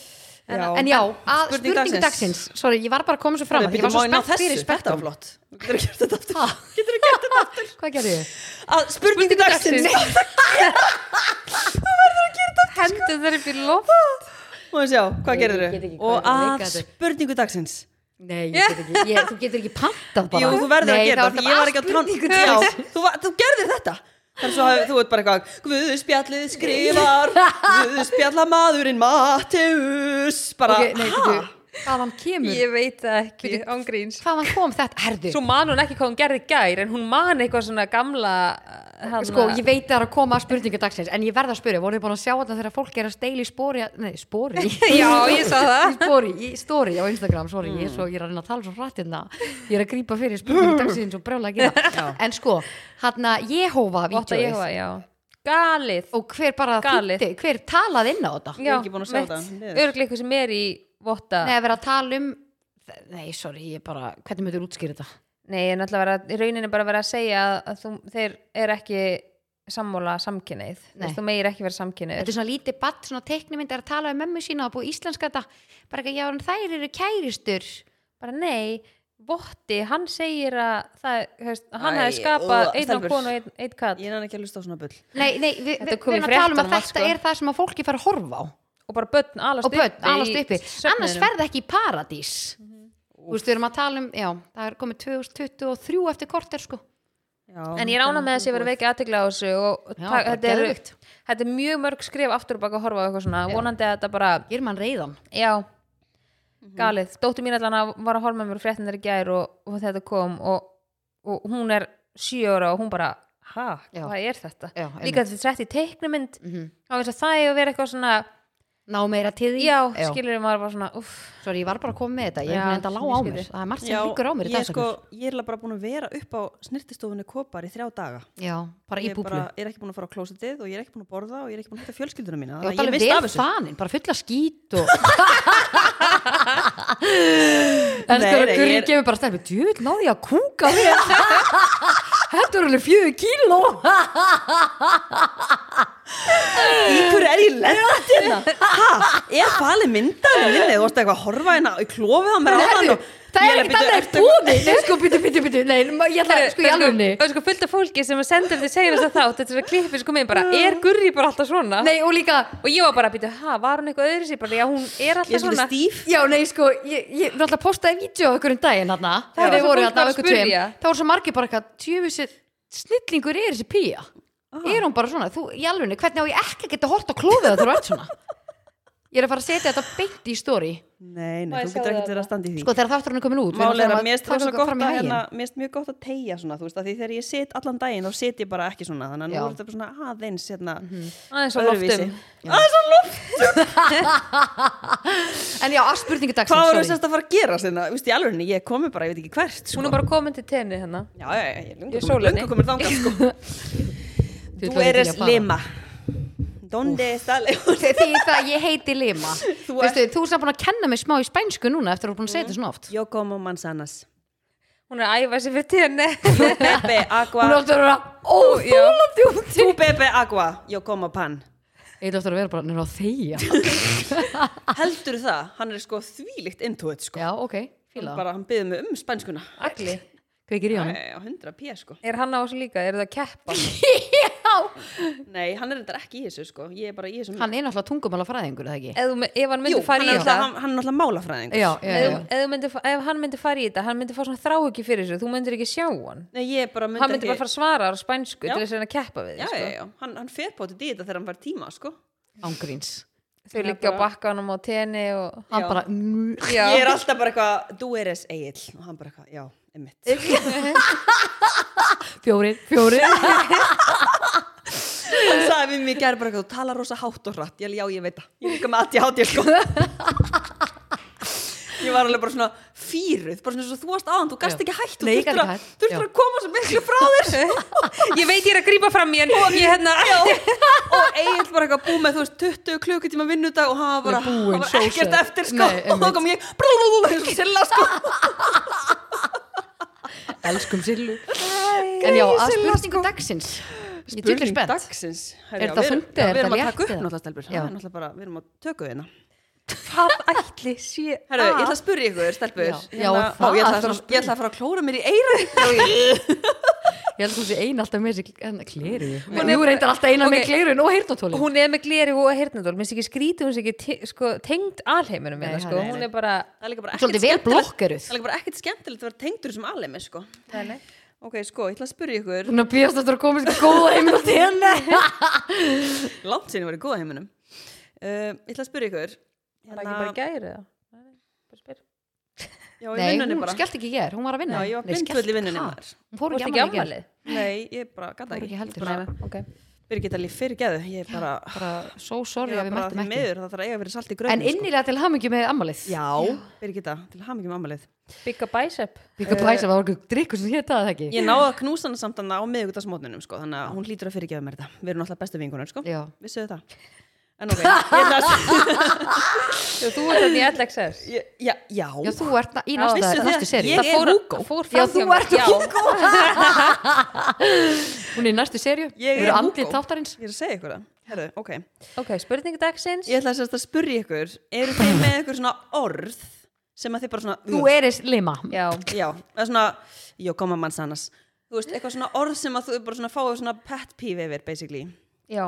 Speaker 1: en,
Speaker 3: Já.
Speaker 1: en já, að
Speaker 3: Spurning
Speaker 1: spurning dagsins.
Speaker 3: dagsins.
Speaker 1: sorry, ég var bara að koma svo fram
Speaker 3: Herru,
Speaker 1: að ég
Speaker 3: bíddu,
Speaker 1: var svo
Speaker 3: má ég ná
Speaker 1: spennt fyrir
Speaker 3: þessu? Þetta var
Speaker 1: spektum
Speaker 3: flott Þú getur ekki þetta aftur
Speaker 1: hvað gerði ég?
Speaker 3: Að Spurning dagsins
Speaker 2: hendur þeir upp í loft
Speaker 3: Má ég sjá, hvað
Speaker 1: Ég- ég
Speaker 3: gerður
Speaker 1: get ekki hvað ég var
Speaker 3: Og
Speaker 1: að
Speaker 3: að
Speaker 1: leika þessu.
Speaker 3: spurningu dagsins
Speaker 1: nei, ég get ekki, ég, þú getur ekki pantað bara
Speaker 3: Jú, þú verður
Speaker 1: nei,
Speaker 3: að gera það,
Speaker 1: það
Speaker 3: því ég var ekki á
Speaker 1: spurningu
Speaker 3: tón Já, þú, var- þú gerðir þetta Þannig svo hafði, þú veit bara eitthvað Guðspjallið skrifar Guðspjallamaðurinn Mateus Bara,
Speaker 1: okay, nei,
Speaker 3: ha?
Speaker 1: getur, hvaðan kemur
Speaker 2: veit það ekki, ángríns
Speaker 1: hvaðan kom þetta, herðu
Speaker 2: svo man hún ekki hvað hún gerði í gær en hún man eitthvað svona gamla eh, hana,
Speaker 1: Sko, ég veit að það er að koma að spurningu dagsins en ég verð að spyrja, voruð þið búin að sjá þetta þegar fólk er að steila í spori, nei, spori
Speaker 2: Já, ég sá það. Mm.
Speaker 1: í spori, í stóri á Instagram, sorry, ég, er svo, ég er að reyna að tala svo hratt hérna, ég er að grípa fyrir spurningu dagsins og brjóla að gera, en sko hann að Jehova
Speaker 2: Votta
Speaker 1: vídeoið
Speaker 2: Jehova, já. galið
Speaker 1: og hver bara
Speaker 2: Galið.
Speaker 1: þýtti, hver talaði inn á þetta
Speaker 3: er ekki búin að sjá það. Miður.
Speaker 2: örglega eitthvað sem er í Votta
Speaker 1: nei,
Speaker 2: nei,
Speaker 1: að vera að tala um nei, sorry, ég bara, hvernig möttur útskýra þetta
Speaker 2: en alltaf vera, í rauninni bara vera að segja að- að þú, þeir eru ekki sammála samkynneið Þú
Speaker 1: Nei.
Speaker 2: veist, þú meir ekki vera samkynneið
Speaker 1: þetta er svona lítið batt, svona teknimynd er að tala um mömmu sína og búið íslenska þetta bara ekki, já, en þær eru kæristur
Speaker 2: bara nei, Votti, hann segir að það, hefst, hann
Speaker 3: Æ,
Speaker 2: hefði skapað
Speaker 3: ú,
Speaker 2: einn á
Speaker 3: stelpur.
Speaker 2: konu og einn, einn kall
Speaker 3: Ég nann ekki að hlusta á svona bull
Speaker 1: Nei, nei, við,
Speaker 2: Þetta
Speaker 1: við,
Speaker 2: kom
Speaker 1: við
Speaker 2: í
Speaker 1: erum að tala um að
Speaker 2: fréttunum allt,
Speaker 1: þetta
Speaker 2: sko.
Speaker 1: er það sem að fólki fær að horfa á
Speaker 2: og bara börn alast
Speaker 1: og börn,
Speaker 2: í
Speaker 1: alast uppi, Mhm. annars
Speaker 2: svefninum.
Speaker 1: ferð ekki í paradís Þú veist, við erum að tala um já, það er komið 2023 eftir korter sko,
Speaker 3: Já,
Speaker 2: en ég rána með þess að ég verið vekja aðtegla á þessu og
Speaker 1: Já,
Speaker 2: ta-
Speaker 1: bara
Speaker 2: þetta, eru-
Speaker 1: geðveikt.
Speaker 2: þetta er mjög mörg skrif aftur og baka að horfa á eitthvað svona, vonandi að þetta bara
Speaker 1: ég er mann reyðan
Speaker 2: já, galið dóttir mín allan að var að horfa með mér fréttin þegar gær og, og þetta kom og, og hún er sjö ára og hún bara ha,
Speaker 1: Já.
Speaker 2: hvað er þetta
Speaker 1: Já,
Speaker 2: líka þetta er sett í teiknumynd
Speaker 1: mm -hmm.
Speaker 2: þá veist að það er að vera eitthvað svona
Speaker 1: ná meira til því
Speaker 2: já, skilur maður bara svona uff,
Speaker 1: Sorry, ég var bara að koma með þetta, ég
Speaker 2: Já,
Speaker 1: er enda lág á
Speaker 2: skilur.
Speaker 1: mér það er margt
Speaker 3: Já,
Speaker 1: sem líkur á mér í
Speaker 3: ég,
Speaker 1: dag
Speaker 3: sko, ég er bara búin að vera upp á snirtistofunni kopar í þrjá daga
Speaker 1: já, bara í
Speaker 3: Ég
Speaker 1: búblu
Speaker 3: bara, ég er ekki búin að fara á klósitið og ég er ekki búin að borða og ég er ekki búin að hitta fjölskylduna
Speaker 1: Ég
Speaker 3: mína
Speaker 1: átt
Speaker 3: þannig að
Speaker 1: alveg
Speaker 3: missti af
Speaker 1: vel
Speaker 3: þessu.
Speaker 1: fanin, um bara fulla skít og
Speaker 3: Nei,
Speaker 1: En það er
Speaker 3: nei,
Speaker 1: að
Speaker 3: ég
Speaker 1: Gurri
Speaker 3: er-
Speaker 1: gefur bara stærfi Djöð, náði ég að kúka þér Þetta er alveg fjöðu kíló
Speaker 3: í hverju er ég lent hérna ha, er falið myndaðin minni þú varst eitthvað að horfa hérna í klófið á mér áðan
Speaker 1: Herðu,
Speaker 3: og-
Speaker 1: það
Speaker 3: Ég
Speaker 1: er
Speaker 3: alveg,
Speaker 1: ekkert
Speaker 3: "Bíddu,
Speaker 1: annað
Speaker 3: ertu-
Speaker 1: búði Nei, sko, byttu, byttu, byttu Nei, ma- ég ætla, sko, í alvegni
Speaker 2: og sko fullt af fólki sem að senda eftir segir þess að þátt þetta er að klippi sko minn bara, er gurri bara alltaf svona
Speaker 1: Nei, og líka
Speaker 2: og ég var bara að býta, ha, var hún eitthvað öðru sér bara, já, hún er
Speaker 3: ég
Speaker 2: alltaf
Speaker 3: er svolítið
Speaker 2: svona
Speaker 3: stíf
Speaker 1: Já, nei, sko, ég, ég náttúrulega postaði vídeo á einhverjum daginn hann
Speaker 2: Já.
Speaker 1: Það
Speaker 2: Það
Speaker 1: voru þarna á
Speaker 2: fólk var að
Speaker 1: einhverjum tveim
Speaker 2: spyrja.
Speaker 1: Það voru svo margir bara eitthvað Tjöfusi snillingur er þessi pía Er hún bara svona, þú, í alvegni Hvernig á ég ekki að geta hort á klófið að þú ert svona Ég er að fara að setja þetta beint í story
Speaker 3: nei,
Speaker 2: Má
Speaker 3: nei,
Speaker 2: ég
Speaker 3: þú
Speaker 2: sjá
Speaker 3: getur
Speaker 2: það
Speaker 3: ekkert verið að standa í því
Speaker 1: Sko, þegar þátturinn er komin út við erum
Speaker 3: Mál er
Speaker 1: svona
Speaker 3: að mér finnst
Speaker 1: taka
Speaker 3: rosa
Speaker 1: okkur
Speaker 3: gott
Speaker 1: fram í
Speaker 3: að
Speaker 1: haginn.
Speaker 3: hérna, mér finnst mjög gott að tegja svona, þú veist, að því þegar ég sit allan daginn þá sit ég bara ekki svona, þannig að
Speaker 1: Já. Mhm.
Speaker 3: nú er þetta bara svona aðeins hérna,
Speaker 2: aðeins á loftum
Speaker 1: um-
Speaker 3: Aðeins á loftum.
Speaker 1: En já, að spurningu dagsins,
Speaker 3: Hvað voru
Speaker 1: sorry
Speaker 3: þess að fara að gera sinna? Þú veist, í alveg, ég komi bara, ég veit ekki hvert, sko.
Speaker 2: hún er bara komin til tenni hérna. hennar
Speaker 3: Já, já, já, ég
Speaker 2: Ég er
Speaker 3: lungu komin,
Speaker 2: sólinni.
Speaker 3: lungu komin þangað, sko.
Speaker 1: Þú
Speaker 3: Þú
Speaker 1: ætlaðir til
Speaker 3: eres
Speaker 1: að fara.
Speaker 3: lima. Donde está lima?
Speaker 1: Þe- því það ég heiti Lima þú
Speaker 3: Þú
Speaker 1: Veistu, þú ert samt búin að kenna mig smá í spænsku núna eftir að þú er búin að segja þetta svona oft
Speaker 3: Yo como manzanas.
Speaker 2: hún er að æfa sér fyrir tenni
Speaker 3: Tú bebe
Speaker 1: hún er
Speaker 3: agua.
Speaker 1: alltaf að vera óþólandi úti
Speaker 3: Tú bebe agua. Yo como pan.
Speaker 1: ég er alltaf að vera bara nefnir á þeia
Speaker 3: Heldur það? Hann er sko þvílikt intuit, sko.
Speaker 1: já, ok,
Speaker 3: Hann
Speaker 1: fíla
Speaker 3: bara, hann byggði mig um spænskuna.
Speaker 2: Agli,
Speaker 1: kveikir í honum
Speaker 3: Æ, á 100 p, sko.
Speaker 2: er hann á þessu líka, eru það að keppa
Speaker 3: Nei, hann er þetta ekki í þessu, sko. Ég er bara í þessum...
Speaker 1: hann er náttúrulega tungumálafræðingur, eða ekki
Speaker 2: ef, þú- ef hann
Speaker 3: Jú,
Speaker 2: myndi
Speaker 3: hann
Speaker 2: fara í
Speaker 3: er
Speaker 2: þetta
Speaker 3: náttúrulega- hann- hann er náttúrulega málafræðingur.
Speaker 1: já, já,
Speaker 2: ef,
Speaker 1: já,
Speaker 2: ef, þú myndir, fa- ef hann myndi fara í þetta hann myndi fá svona þrá ekki fyrir þessu, þú myndir ekki sjá hann
Speaker 3: Nei, ég bara myndi
Speaker 2: hann myndi bara fara að svara á spænsku
Speaker 3: Já.
Speaker 2: til þess að hann keppa við
Speaker 3: Já,
Speaker 2: þig,
Speaker 3: já,
Speaker 2: sko.
Speaker 3: já, hann, hann fer bótið í þetta þegar hann var tíma, sko.
Speaker 1: ángríns
Speaker 2: þau líka á bakkanum á tenni og
Speaker 1: hann
Speaker 3: Já.
Speaker 1: bara mm,
Speaker 2: Já.
Speaker 3: Ég er alltaf bara eitthvað, þú eres eigill. Og hann bara eitthvað, já, emitt.
Speaker 1: fjórir, fjórir
Speaker 3: Hann sagði við mig í gær bara eitthvað, þú talar rosa hátt og hratt. Ég alveg, já, ég veit það. Ég er líka með aðti hátt, ég sko. Ég var alveg bara svona fýruð, bara svona svo þú varst aðan, þú gast
Speaker 1: Já.
Speaker 3: ekki hægt. Þú
Speaker 1: Nei, ég gat ekki
Speaker 3: þurftur að,
Speaker 1: hætt,
Speaker 3: þurftur
Speaker 1: já.
Speaker 3: að koma svo miklu frá þér. sko.
Speaker 2: ég veit ég er að grípa fram í hann og ég hérna
Speaker 3: og eigill bara eitthvað búið með, þú veist, 20 klukkutíma vinnudag og hann var bara,
Speaker 1: Hann er búinn,
Speaker 3: hann
Speaker 1: so
Speaker 3: var ekkert
Speaker 1: sad.
Speaker 3: eftir, sko.
Speaker 1: Nei,
Speaker 3: og þá kom ég, brúlúlúlú, eins og silla, sko.
Speaker 1: elskum sillu en já, að spurningu dagsins ég tjóðlega
Speaker 3: Spurning
Speaker 1: spennt
Speaker 3: dagsins
Speaker 1: Er þetta þungt eða er
Speaker 3: Við erum
Speaker 1: þetta létt
Speaker 3: að taka upp
Speaker 1: eða?
Speaker 3: náttúrulega stelpur Það
Speaker 1: Já.
Speaker 3: er náttúrulega bara, við erum að tökja hérna
Speaker 2: hvað ætli sé
Speaker 3: Herru, ég
Speaker 2: að?
Speaker 3: ætla að spurja ykkur
Speaker 1: Ah.
Speaker 3: stelpur
Speaker 1: Já.
Speaker 3: Hérna-
Speaker 1: Já,
Speaker 3: Ó,
Speaker 1: það
Speaker 3: ég,
Speaker 1: ætlar
Speaker 3: ætla
Speaker 1: að
Speaker 3: að fara, ég ætla að fara að klóra mér í eyru
Speaker 1: ég held að hún sé ein alltaf með þessi kleri hún er reyndar alltaf eina með
Speaker 2: Ok.
Speaker 1: klerun og heyrnatóli
Speaker 2: hún er með gleri og hirnadól minnst ekki skrítið, hún sé ekki te- sko, tengd alheiminum
Speaker 1: Nei,
Speaker 2: hérna,
Speaker 1: hann
Speaker 2: sko.
Speaker 1: er-
Speaker 2: hún er bara
Speaker 3: Það er líka bara
Speaker 1: svolítið
Speaker 3: ekkert
Speaker 1: vel
Speaker 3: skemmtilegt-
Speaker 1: blokkeruð
Speaker 3: Það er líka bara ekkert skemmtilegt að vera tengdur sem alemi sko. Ok, sko, ég ætla að spurja ykkur
Speaker 1: Svona býðast eftir að koma í góða heimil til henni
Speaker 3: Langt sinni verið góða heiminum uh, Ég ætla að spurja ykkur Hérna,
Speaker 2: hann er ekki bara gæri það
Speaker 3: já, í
Speaker 1: Nei,
Speaker 3: vinnunni
Speaker 1: hún
Speaker 3: bara.
Speaker 1: skellt ekki í gær, hún var að vinna
Speaker 3: Já, ég var
Speaker 1: Nei,
Speaker 3: blindfull í
Speaker 1: skellti-
Speaker 3: vinnunni
Speaker 1: Ha?
Speaker 3: maður
Speaker 1: Hún fór
Speaker 2: Þú
Speaker 1: ekki
Speaker 2: ert ekki
Speaker 1: afmæli í gær.
Speaker 2: afmælið?
Speaker 3: Nei, ég bara gata
Speaker 1: Fór
Speaker 3: ekki
Speaker 1: ekki heldur.
Speaker 3: Bara-
Speaker 2: Ok.
Speaker 3: Birgitta líf fyrir geðu Ég er bara,
Speaker 1: Bara so sorry
Speaker 3: ég
Speaker 1: að
Speaker 3: er
Speaker 1: við
Speaker 3: bara
Speaker 1: mættum
Speaker 3: því
Speaker 1: ekki
Speaker 3: miður Það þarf að eiga fyrir salt í gröðum
Speaker 1: En innilega til hamingju með ammalið
Speaker 3: Já, Birgitta, til hamingjum amalið
Speaker 2: bygga bæsep
Speaker 1: Líka bæsa, það var okkur drikkur sem hétt að það ekki
Speaker 3: Ég náði að knúsa hana samt hana á miðugutasmótnunum sko, þannig að hún hlýtur að fyrirgefa mér þetta. Við erum alltaf bestu vingunum, sko.
Speaker 1: Já,
Speaker 3: Vissuðu það? En ok, ég ætla að...
Speaker 2: Jú, þú ert þannig í LXS
Speaker 3: Ég- Já, já.
Speaker 1: já þú ert na- í
Speaker 3: Vissuð
Speaker 1: næsta,
Speaker 3: þið
Speaker 1: næstu
Speaker 3: að
Speaker 1: seri
Speaker 3: ég
Speaker 2: það
Speaker 3: er
Speaker 2: fór,
Speaker 3: Hugo.
Speaker 2: fór
Speaker 1: Já,
Speaker 2: fram
Speaker 1: þú ert
Speaker 2: já,
Speaker 1: Hugo Hún er í næstu seri Þú
Speaker 3: Ég er
Speaker 1: eru
Speaker 3: Hugo.
Speaker 1: andlið þáttarins
Speaker 3: Ég er að segja ykkur það. Herru, ok.
Speaker 2: ok, spurning dagsins
Speaker 3: Ég ætla að sérst að spurja ykkur, eru þið með ykkur svona orð sem að þið bara svona...
Speaker 1: Þú eris lima
Speaker 2: já,
Speaker 3: Já, eða svona, jó, koma manns annars. Þú veist, eitthvað svona orð sem að þú bara svona fáið svona pet peeve yfir, basically.
Speaker 2: já,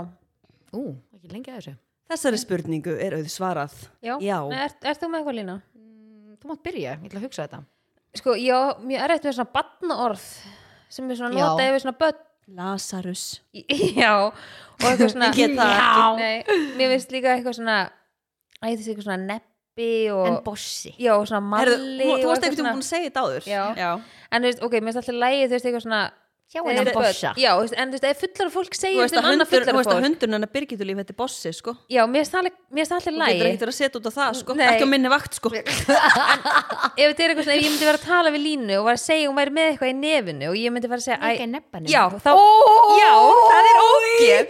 Speaker 1: Ú, ekki lengi að þessu
Speaker 3: Þessari spurningu er auð svarað.
Speaker 2: já.
Speaker 3: Já.
Speaker 2: Nei, ert, ert þú með eitthvað lína?
Speaker 1: Þú mátt byrja, ég ætla að hugsa þetta
Speaker 2: sko, já, mér er eftir með svona batnaorð sem er svona
Speaker 1: Já.
Speaker 2: nota yfir svona börn
Speaker 3: Lazarus.
Speaker 2: já, og eitthvað svona
Speaker 3: Ég get það
Speaker 2: já,
Speaker 3: ekki.
Speaker 2: nei, mér finnst líka eitthvað svona æ, þessi eitthvað svona neppi og,
Speaker 1: En bossi
Speaker 2: já, og svona malli
Speaker 3: Herru,
Speaker 2: og
Speaker 3: þú þú
Speaker 2: eitthvað
Speaker 3: varst eitthvað búin að segja þetta áður.
Speaker 2: Já. en þú veist, ok, mér finnst alltaf lægið, þú veist, eitthvað svona
Speaker 1: Sjá
Speaker 2: þeir
Speaker 1: hennan
Speaker 2: eru
Speaker 1: bossa
Speaker 2: börn. já, þú veist, en þú veist, ef fullara fólk
Speaker 3: Þú
Speaker 2: segir
Speaker 3: veist
Speaker 2: þetta
Speaker 3: að
Speaker 2: um annað
Speaker 3: hundur, þú
Speaker 2: fullara
Speaker 3: veist að
Speaker 2: fólk
Speaker 3: hundurinn hennar Birgitur líf, þetta er bossi, sko.
Speaker 2: já, mér finnst það alveg- mér finnst alltaf
Speaker 3: Þú getur
Speaker 2: lægið
Speaker 3: ekkert verið að setja út á það, sko.
Speaker 2: Nei.
Speaker 3: Ekki á minni vakt, sko.
Speaker 2: ef þetta er eitthvað svona, ef ég myndi vera að tala við Línu og var að segja, hún væri með eitthvað í nefinu og ég myndi fara að segja,
Speaker 1: Líka í nebbanum.
Speaker 2: já, þá, já, það er ógeð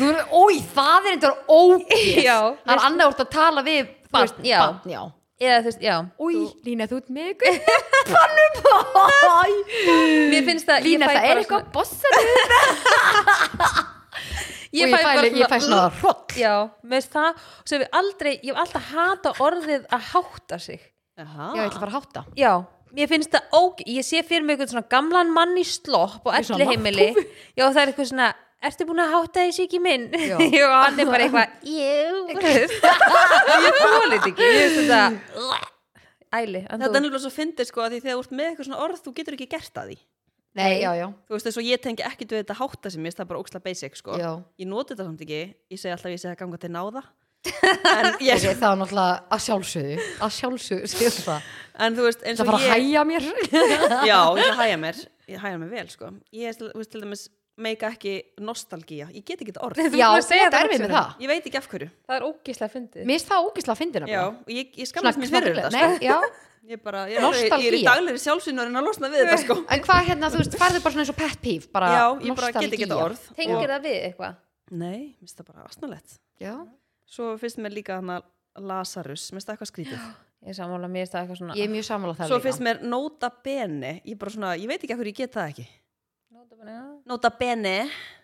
Speaker 1: Þú er, ói, það er eitthvað ógeð
Speaker 2: Já.
Speaker 1: Það er annað úr að tala við barn,
Speaker 2: veist, já.
Speaker 1: barn, já
Speaker 2: eða þú veist, já,
Speaker 1: Új, Lína, þú ert með ykkur Pannum
Speaker 2: mér finnst það ég
Speaker 1: Lína,
Speaker 2: fæ
Speaker 1: það
Speaker 2: bara
Speaker 1: er eitthvað bossar og ég fæ, ég fæ svona hrott
Speaker 2: já, með það sem við aldrei, ég hef alltaf hata orðið að hátta sig
Speaker 3: Aha.
Speaker 1: Já, ég ætla bara að hátta
Speaker 2: já, mér finnst það óg ég sé fyrir mig einhvern svona gamlan mann í slopp og
Speaker 1: Í svona
Speaker 2: elli heimili já, það er eitthvað svona Ertu búin að hátta þessi ekki minn?
Speaker 1: Já.
Speaker 2: Jú, hann er bara eitthvað Jú Ég fólið ekki Ég veist þetta Æli, en
Speaker 3: Þetta er
Speaker 2: þú
Speaker 3: nefnilega svo fyndið sko að því þegar þú ert með eitthvað svona orð þú getur ekki gert að því.
Speaker 1: Nei, já, já,
Speaker 3: Þú veist þess að ég tengi ekkit við þetta hátta sem ég veist það er bara óksla basic sko.
Speaker 1: já.
Speaker 3: Ég noti þetta samt ekki, ég segi alltaf ég segi að ganga til náða. en, ég,
Speaker 1: Ég, Það var náttúrulega að sjálfsögðu Að sjálfsögðu, séu það
Speaker 3: en þú veist eins
Speaker 1: Það
Speaker 3: og
Speaker 1: fara að
Speaker 3: ég,
Speaker 1: hæja mér
Speaker 3: já ég ætla að hæja mér, ég hæja mér vel sko. Ég til, þú veist, til dæmis meika ekki nostalgía, ég get ekki þetta orð.
Speaker 2: Þú
Speaker 1: Já,
Speaker 2: ert búin að
Speaker 1: þú
Speaker 2: segja
Speaker 1: ert
Speaker 2: það
Speaker 1: erfið með
Speaker 2: hugsunum.
Speaker 1: það
Speaker 3: Ég veit ekki af hverju.
Speaker 2: Það er ógislega fyndið
Speaker 1: Mér finnst það ógislega að fyndina
Speaker 3: Já, og ég, ég skammast mér fyrir þetta sko.
Speaker 1: Nei, já
Speaker 3: Ég, bara, ég, er- ég er í
Speaker 1: Nostalgía.
Speaker 3: daglegri sjálfsýn og reyna að losna við þetta sko.
Speaker 1: En hvað hérna, þú veist, færðu bara svona eins og pet peeve bara
Speaker 3: Já, ég bara get ekki þetta
Speaker 1: nostalgía.
Speaker 3: orð.
Speaker 2: Tengir það við eitthvað?
Speaker 3: Nei, mér finnst það bara astnalett.
Speaker 1: Já,
Speaker 3: Svo finnst mér líka hann að Lazarus, mér finnst það eitthvað skrítið.
Speaker 2: Ég sammála, mér er það eitthvað svona
Speaker 1: ég er mjög sammála það
Speaker 3: Svo
Speaker 1: líka.
Speaker 3: finnst mér nota bene, ég bara svona, ég veit ekki af hverju ég get það ekki.
Speaker 2: Nótabene.
Speaker 3: Nota bene.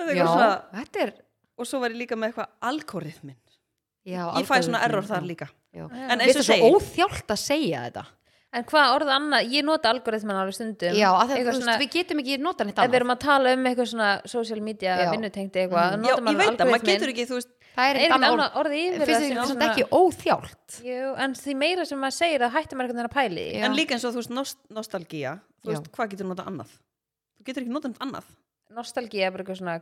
Speaker 3: Þetta er
Speaker 1: Já,
Speaker 3: eitthvað svona,
Speaker 1: þetta er
Speaker 3: og svo var ég líka með eitthvað algoritmin.
Speaker 1: já,
Speaker 3: Ég fæ svona
Speaker 1: algoritminn,
Speaker 3: error
Speaker 1: já,
Speaker 3: þar líka.
Speaker 1: já.
Speaker 2: Já.
Speaker 3: En
Speaker 1: Mér
Speaker 3: eins
Speaker 1: finnst það svo
Speaker 3: og segi,
Speaker 1: óþjált að segja þetta
Speaker 2: En hvað orðið annað, ég nota algoritman alveg stundum
Speaker 1: Já, að það,
Speaker 2: Eitthvað
Speaker 1: þú
Speaker 2: svona,
Speaker 1: veist, við getum ekki nota neitt
Speaker 2: ef við
Speaker 1: annað
Speaker 2: erum að tala um eitthvað svona social media
Speaker 1: Já. Mm.
Speaker 2: vinnutengdi eitthvað,
Speaker 3: já,
Speaker 2: nota
Speaker 3: ég
Speaker 2: maður
Speaker 3: veit það, maður
Speaker 2: algoritmin
Speaker 3: getur ekki, þú veist,
Speaker 1: Það
Speaker 2: Er
Speaker 1: er
Speaker 2: ekki
Speaker 1: ekkert
Speaker 2: annað
Speaker 1: annað
Speaker 2: orð
Speaker 1: orð
Speaker 2: yfir
Speaker 1: Finnst þið
Speaker 2: sem
Speaker 1: þetta
Speaker 2: svona-
Speaker 1: ekki óþjált?
Speaker 2: Jú, en því meira sem maður segir það hættir maður einhvern veginn að pæli því.
Speaker 1: Já.
Speaker 3: en líka eins og þú veist, nost, nostalgía,
Speaker 1: Já.
Speaker 3: þú veist, hvað getur nota annað? Þú getur ekki nota neitt annað.
Speaker 2: Nostalgía er bara eitthvað svona